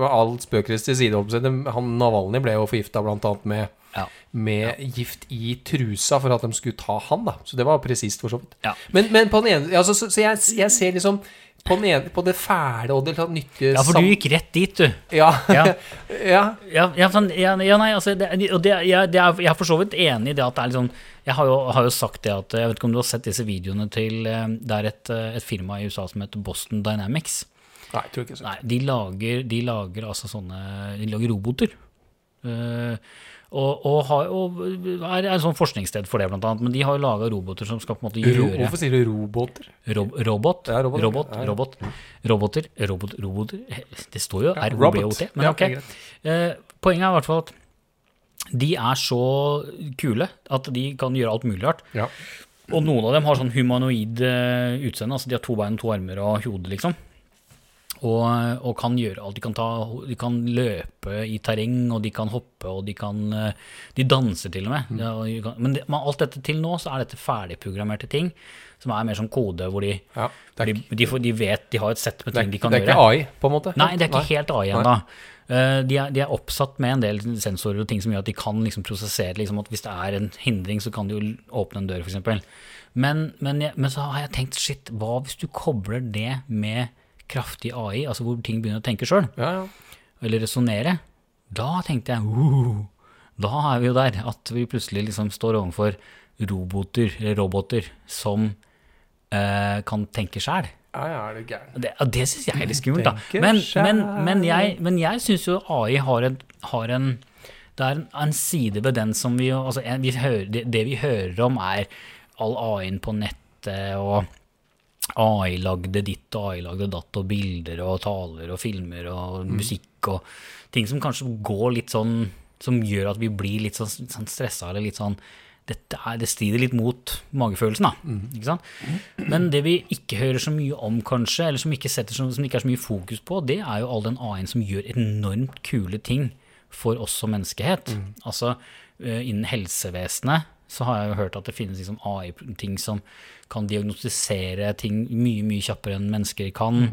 Alt spøkelse til side. holdt jeg på å si, de- Han Navalny ble jo forgifta blant annet med
ja.
med gift i trusa for at de skulle ta han, da. Så det var presist, for så vidt.
Ja.
Men, men på den ene altså, Så, så jeg, jeg ser liksom på, den ene, på det fæle og det sånn nyttige
ja, for
sam-
du gikk rett dit, du.
Ja.
Ja.
ja.
Ja, ja, sånn, ja, ja nei, altså det, og det, jeg, det er, jeg er for så vidt enig i det at det er litt sånn Jeg har jo, har jo sagt det at Jeg vet ikke om du har sett disse videoene til eh, Det er et, eh, et firma i USA som heter Boston Dynamics.
Nei, jeg tror ikke så.
Nei, de lager, de lager altså sånne De lager roboter. Eh, og, og, har, og er, er et sånt forskningssted for det, blant annet. Men de har jo laga roboter som skal på en måte
Ro,
gjøre
hvorfor sier du roboter?
Rob, robot,
Ja, robot,
robot, robot,
ja, ja.
roboter, robot, roboter Det står jo
Ja,
ROBOT,
robot.
men
Ja,
ok.
det er greit.
Eh, Poenget er i hvert fall at de er så kule at de kan gjøre alt mulig rart.
Ja.
Og noen av dem har sånn humanoid eh, utseende, altså de har to bein, to armer og hode, liksom. Og, og kan gjøre alt. De kan, ta, de kan løpe i terreng, og de kan hoppe, og de kan eh, De danser til og med.
Mm.
Ja, og de kan, men det, men alt dette til nå, så er dette ferdigprogrammerte ting som er mer som kode, hvor de
ja. Det, er,
de, de, får, de vet de har et sett med
det,
ting
er,
de kan
det er ikke
gjøre.
AI, på en måte?
Nei, det er ikke helt AI ennå. Eh, De er, de er oppsatt med en del sensorer og ting som gjør at de kan liksom prosessere liksom at hvis det er en hindring, så kan de jo åpne en dør, f.eks. Men, men, jeg- men så har jeg tenkt shit, hva hvis du kobler det med kraftig AI, altså hvor ting begynner å tenke sjøl,
Ja, ja.
eller resonnere? Da tenkte jeg uh, da er vi jo der at vi plutselig liksom står overfor roboter, eller roboter som eh, kan tenke sjæl.
ja, ja er du gæren.
Det, ja, det syns jeg er litt skummelt, da.
Tenker
Men,
selv.
men, men jeg, men jeg syns jo AI har en, har en Det er en, en side ved den som vi jo altså, en- vi hører, det, det vi hører om, er all AI-en på nettet og AI lagde ditt og AI lagde datt og bilder og taler og filmer og musikk og ting som kanskje går litt sånn Som gjør at vi blir litt sånn, sånn stressa eller litt sånn dette er, Det strider litt mot magefølelsen, da. Ikke sant? Men det vi ikke hører så mye om, kanskje, eller som ikke, setter, så- som det ikke er så mye fokus på, det er jo all den AI-en som gjør enormt kule ting for oss som menneskehet. Altså eh, innen helsevesenet så har jeg jo hørt at det finnes liksom AI-ting som kan diagnostisere ting mye, mye kjappere enn mennesker kan.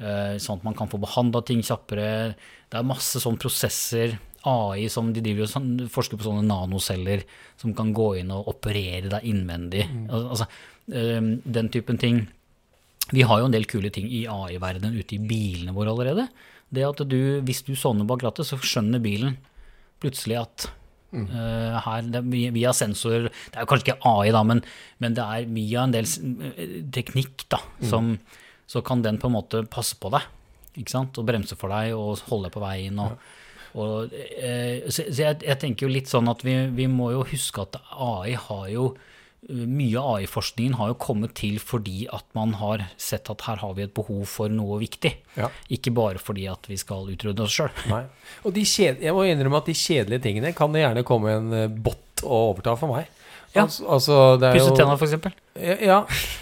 eh, Sånn at man kan få behandla ting kjappere. Det er masse sånne prosesser. AI som de driver og sånn, forsker på sånne nanoceller som kan gå inn og operere deg innvendig. Al- Altså, eh, den typen ting. Vi har jo en del kule ting i AI-verdenen ute i bilene våre allerede. Det at du, hvis du sovner bak rattet, så skjønner bilen plutselig at eh, her, det, er via- Via sensorer Det er jo kanskje ikke AI, da, men, men det er via en del s- eh, teknikk da, som Så kan den på en måte passe på deg. Ikke sant? Og bremse for deg og holde deg på veien. Og, og, eh, så så jeg, jeg tenker jo litt sånn at vi, vi må jo huske at AI har jo eh, mye av AI-forskningen har jo kommet til fordi at man har sett at her har vi et behov for noe viktig.
Ja.
Ikke bare fordi at vi skal utrydde oss sjøl.
Nei. Og de kjed, jeg må innrømme at de kjedelige tingene kan det gjerne komme en eh, bot og overta for meg.
Ja.
Altså, altså, det er
Pusse
jo-
tenna, f.eks.
Ja, ja.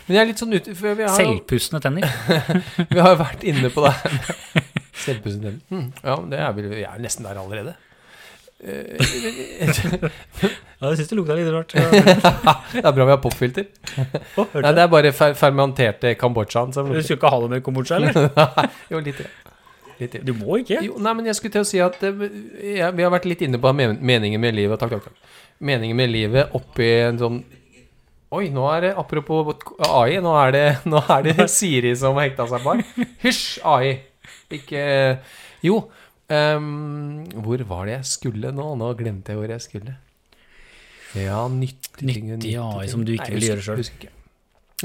Men jeg er litt sånn ute for vi har, jo-
Selvpustende tenner.
vi har jo vært inne på det. Selvpusset tenner. Mm. Ja, men det er, vel- jeg er jo nesten der allerede. Eh,
Ja, jeg syns det lukta litt rart.
Det er bra vi har popfilter. Nei,
Du
det er bare fer fermenterte kambodsjaen som lukter.
skal ikke ha det med kombucha, eller?
Jo, litt. ja. litt ja.
Du må ikke.
Jo, nei, men jeg skulle til å si at eh, jeg, vi har vært litt inne på men- meningen med livet. Takk, takk, takk. Meningen med livet oppi en sånn Oi, nå er det apropos AI, nå er det, nå er det Siri som har hekta seg bak. Hysj, AI. Ikke eh, Jo. ehm, hvor var det jeg skulle nå? Nå glemte jeg hvor jeg skulle. Ja, nyttig ting-
Nyttig AI
ting.
som du ikke
Nei,
ville
husker-
gjøre selv.
husker ikke.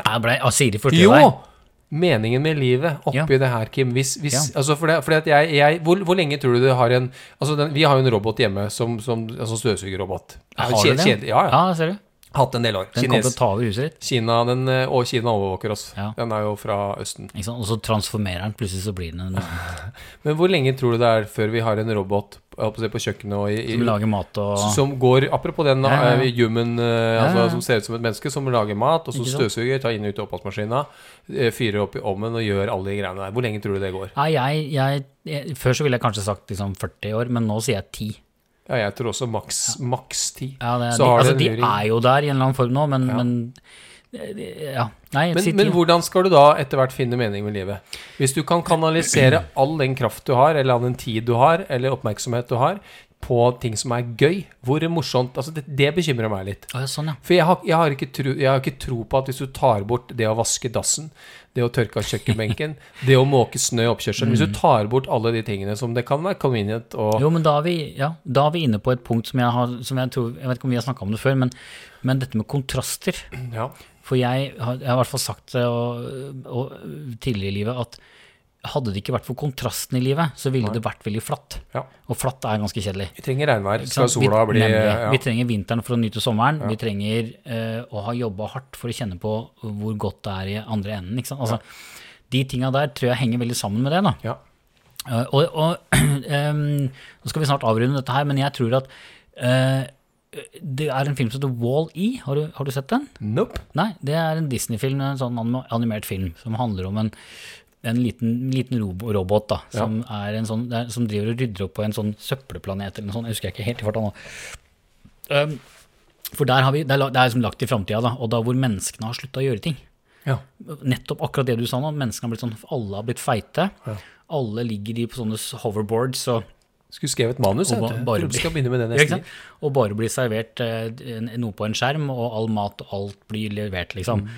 Nei, jeg ble, ah, Siri forstyrra deg.
Jo! Meningen med livet oppi det her, Kim. Hvis, hvis,
Ja.
altså for det, fordi at jeg, jeg hvor, hvor lenge tror du du har en altså den, Vi har jo en robot hjemme som, som altså støvsugerrobot. Altså,
Har
Kje-
du den?
kjedelig. Ja, ja.
Ja, ser du.
Hatt en del år.
Den kommer til
Kines,
å ta over huset ditt.
Kina, den, eh, og Kina overvåker oss.
Ja.
Den er jo fra Østen.
Ikke sant? Og så transformerer den, plutselig så blir den en
Men hvor lenge tror du det er før vi har en robot jeg holdt på å si, på kjøkkenet og i, i
som lager mat og
som går Apropos den
Ja, ja, ja.
eh, human eh,
ja,
altså,
ja.
som ser ut som et menneske, som lager mat, og så
Ikke sant?
støvsuger, tar inn og ut i oppvaskmaskina, eh, fyrer opp i ovnen og gjør alle de greiene der. Hvor lenge tror du det går?
Nei, jeg, jeg, jeg, før så ville jeg kanskje sagt liksom 40 år, men nå sier jeg 10.
Ja, jeg tror også maks maks ti.
Ja, det,
Så
de,
har du
altså,
en
de
luring.
er jo der i en eller annen form nå, men,
Ja.
men eh, ja. Nei,
Men,
si 10.
men hvordan skal du da etter hvert finne mening med livet? Hvis du kan kanalisere all den kraft du har, eller all den tid du har, eller oppmerksomhet du har, på ting som er gøy, hvor morsomt Altså, det, det bekymrer meg litt.
Å, ja, sånn, ja.
For jeg har, jeg, har ikke tro, jeg har ikke tro på at hvis du tar bort det å vaske dassen, det å tørke av kjøkkenbenken, det å måke snø i oppkjørselen Hvis du
Mm.
tar bort alle de tingene som det kan være convenient og
Jo, men da er, vi, ja, da er vi inne på et punkt som jeg har som jeg, tror, jeg vet ikke om vi har snakka om det før, men, men dette med kontraster.
ja.
For jeg har, jeg har i hvert fall sagt det og, og, tidligere i livet at hadde det ikke vært for kontrasten i livet, så ville det vært veldig flatt.
Ja.
Og flatt er ganske kjedelig.
Vi trenger regnvær,
Ikke
skal
sant?
sola
vi,
bli
nemlig.
ja.
vi trenger vinteren for å nyte sommeren. Vi trenger eh, å ha jobba hardt for å kjenne på hvor godt det er i andre enden. Ikke sant? Altså, De tinga der tror jeg henger veldig sammen med det. da.
ja.
Eh, og, og em, Nå skal vi snart avrunde dette her, men jeg tror at eh, det er en film som heter Wall-E. Har, du- har du sett den?
Nope.
Nei, det er en Disney-film, en sånn anim- animert film, som handler om en, en liten, liten rob- robot da, som, er en sånn, det er, som driver og rydder opp på en sånn søppelplanet eller noe sånt, jeg husker ikke helt i farta nå. Um, for der har vi, det er, la- det er liksom lagt i framtida, da, og da hvor menneskene har slutta å gjøre ting
Ja.
nettopp akkurat det du sa nå, menneskene har blitt sånn, alle har blitt feite. Alle ligger i på sånne hoverboards og
Skulle skrevet manus.
Og
jeg
ba-
vet du.
bare
Jeg tror
bli-
vi skal begynne med det
Ja, ikke
neste.
sant? Og bare bli servert eh, en- noe på en skjerm, og all mat og alt blir levert, liksom.
Mm.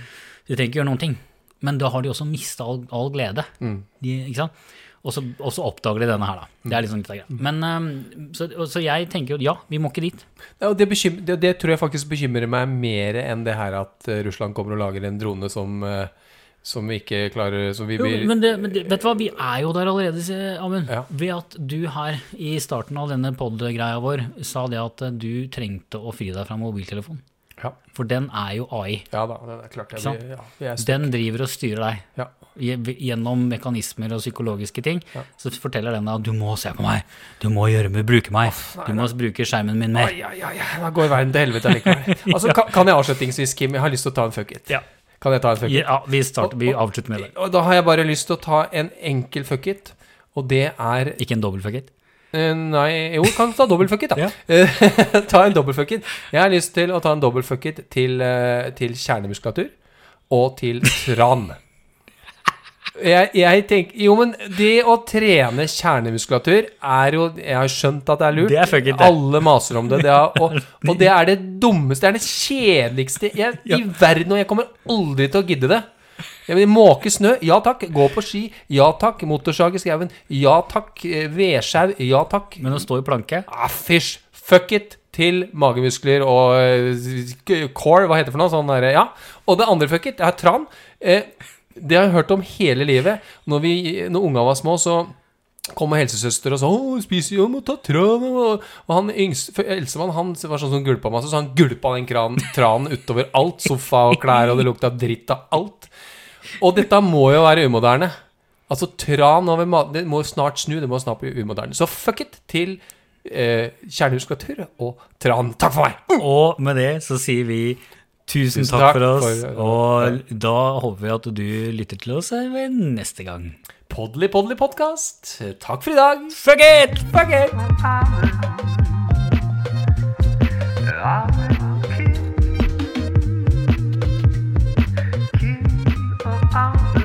Du trenger ikke gjøre noen ting. Men da har de også mista all, all glede.
Mm.
De, ikke sant? Og så, og så oppdager de denne her, da. Det
Mm.
er liksom litt av greia. Men, eh, så, og- så jeg tenker jo ja, vi må ikke dit.
Ja, og det, bekym- det, det tror jeg faktisk bekymrer meg mer enn det her at eh, Russland kommer og lager en drone som, eh, som vi ikke klarer Som vi
Jo,
blir
men, det, men det, vet du hva, vi er jo der allerede, sier Amund.
Ja.
Ved at du her i starten av denne pod-greia vår sa det at eh, du trengte å fri deg fra mobiltelefon.
ja,
For den er jo AI.
ja da, det er klart.
Ikke
Jeg,
sant?
blir- ja, vi er st-
Den driver og styrer deg.
ja.
Gje- gjennom mekanismer og psykologiske ting, så forteller den deg at du må se på meg, du må gjøre med, bruke meg, du må bruke skjermen min mer.
Ai, ai, ai, ai, da går verden til helvete likevel. Altså, kan, kan jeg avslutningsvis, Kim, jeg har lyst til å ta en fuck it.
Ja.
Kan jeg ta en fuck it?
Ja, vi, starter, vi avslutter med det.
Og da har jeg bare lyst til å ta en enkel fuck it, og det er
Ikke en dobbel fuck it.
Eh, Nei, jo, kan ta dobbel fuck it, da.
Ja.
Eh, ta en dobbel fuck it. Jeg har lyst til å ta en dobbel fuck it til, eh, til kjernemuskulatur og til tran. Jeg, jeg tenker Jo, men det å trene kjernemuskulatur er jo Jeg har skjønt at det er lurt.
Det er fuck it, det.
Alle maser om det. det er, og, og det er det dummeste, det er det kjedeligste jeg, i verden, og jeg kommer aldri til å gidde det. Jeg vil måke snø, ja takk. Gå på ski, ja takk. Motorsag i skauen, ja takk. Eh, Vedskjau, ja takk.
Men å stå i planke,
Ah, fysj, fuck it! Til magemuskler og eh, core, hva heter det for noe? Sånn derre, ja. Og det andre fuck it, det er tran. Eh, det har jeg hørt om hele livet. Når, vi, når unga var små, så kom helsesøster og sa 'Å, spiser jo, må ta tran', og, og han yngste for Elsemann, han var sånn som gulpa masse, så han gulpa den kran, tranen utover alt. Sofa og klær, og det lukta dritt av alt. Og dette må jo være umoderne. Altså, tran over mat Det må snart snu, det må snart bli umoderne. Så fuck it til eh, kjernemuskulatur og tran. Takk for meg!
og med det så sier vi tusen
Mm. Tusen
takk
takk
for oss,
for-
og da håper vi at du lytter til oss eh, ved neste gang.
Podly Podly podkast. Takk for i dag.
Fuck it!
Fuck it!
Keep on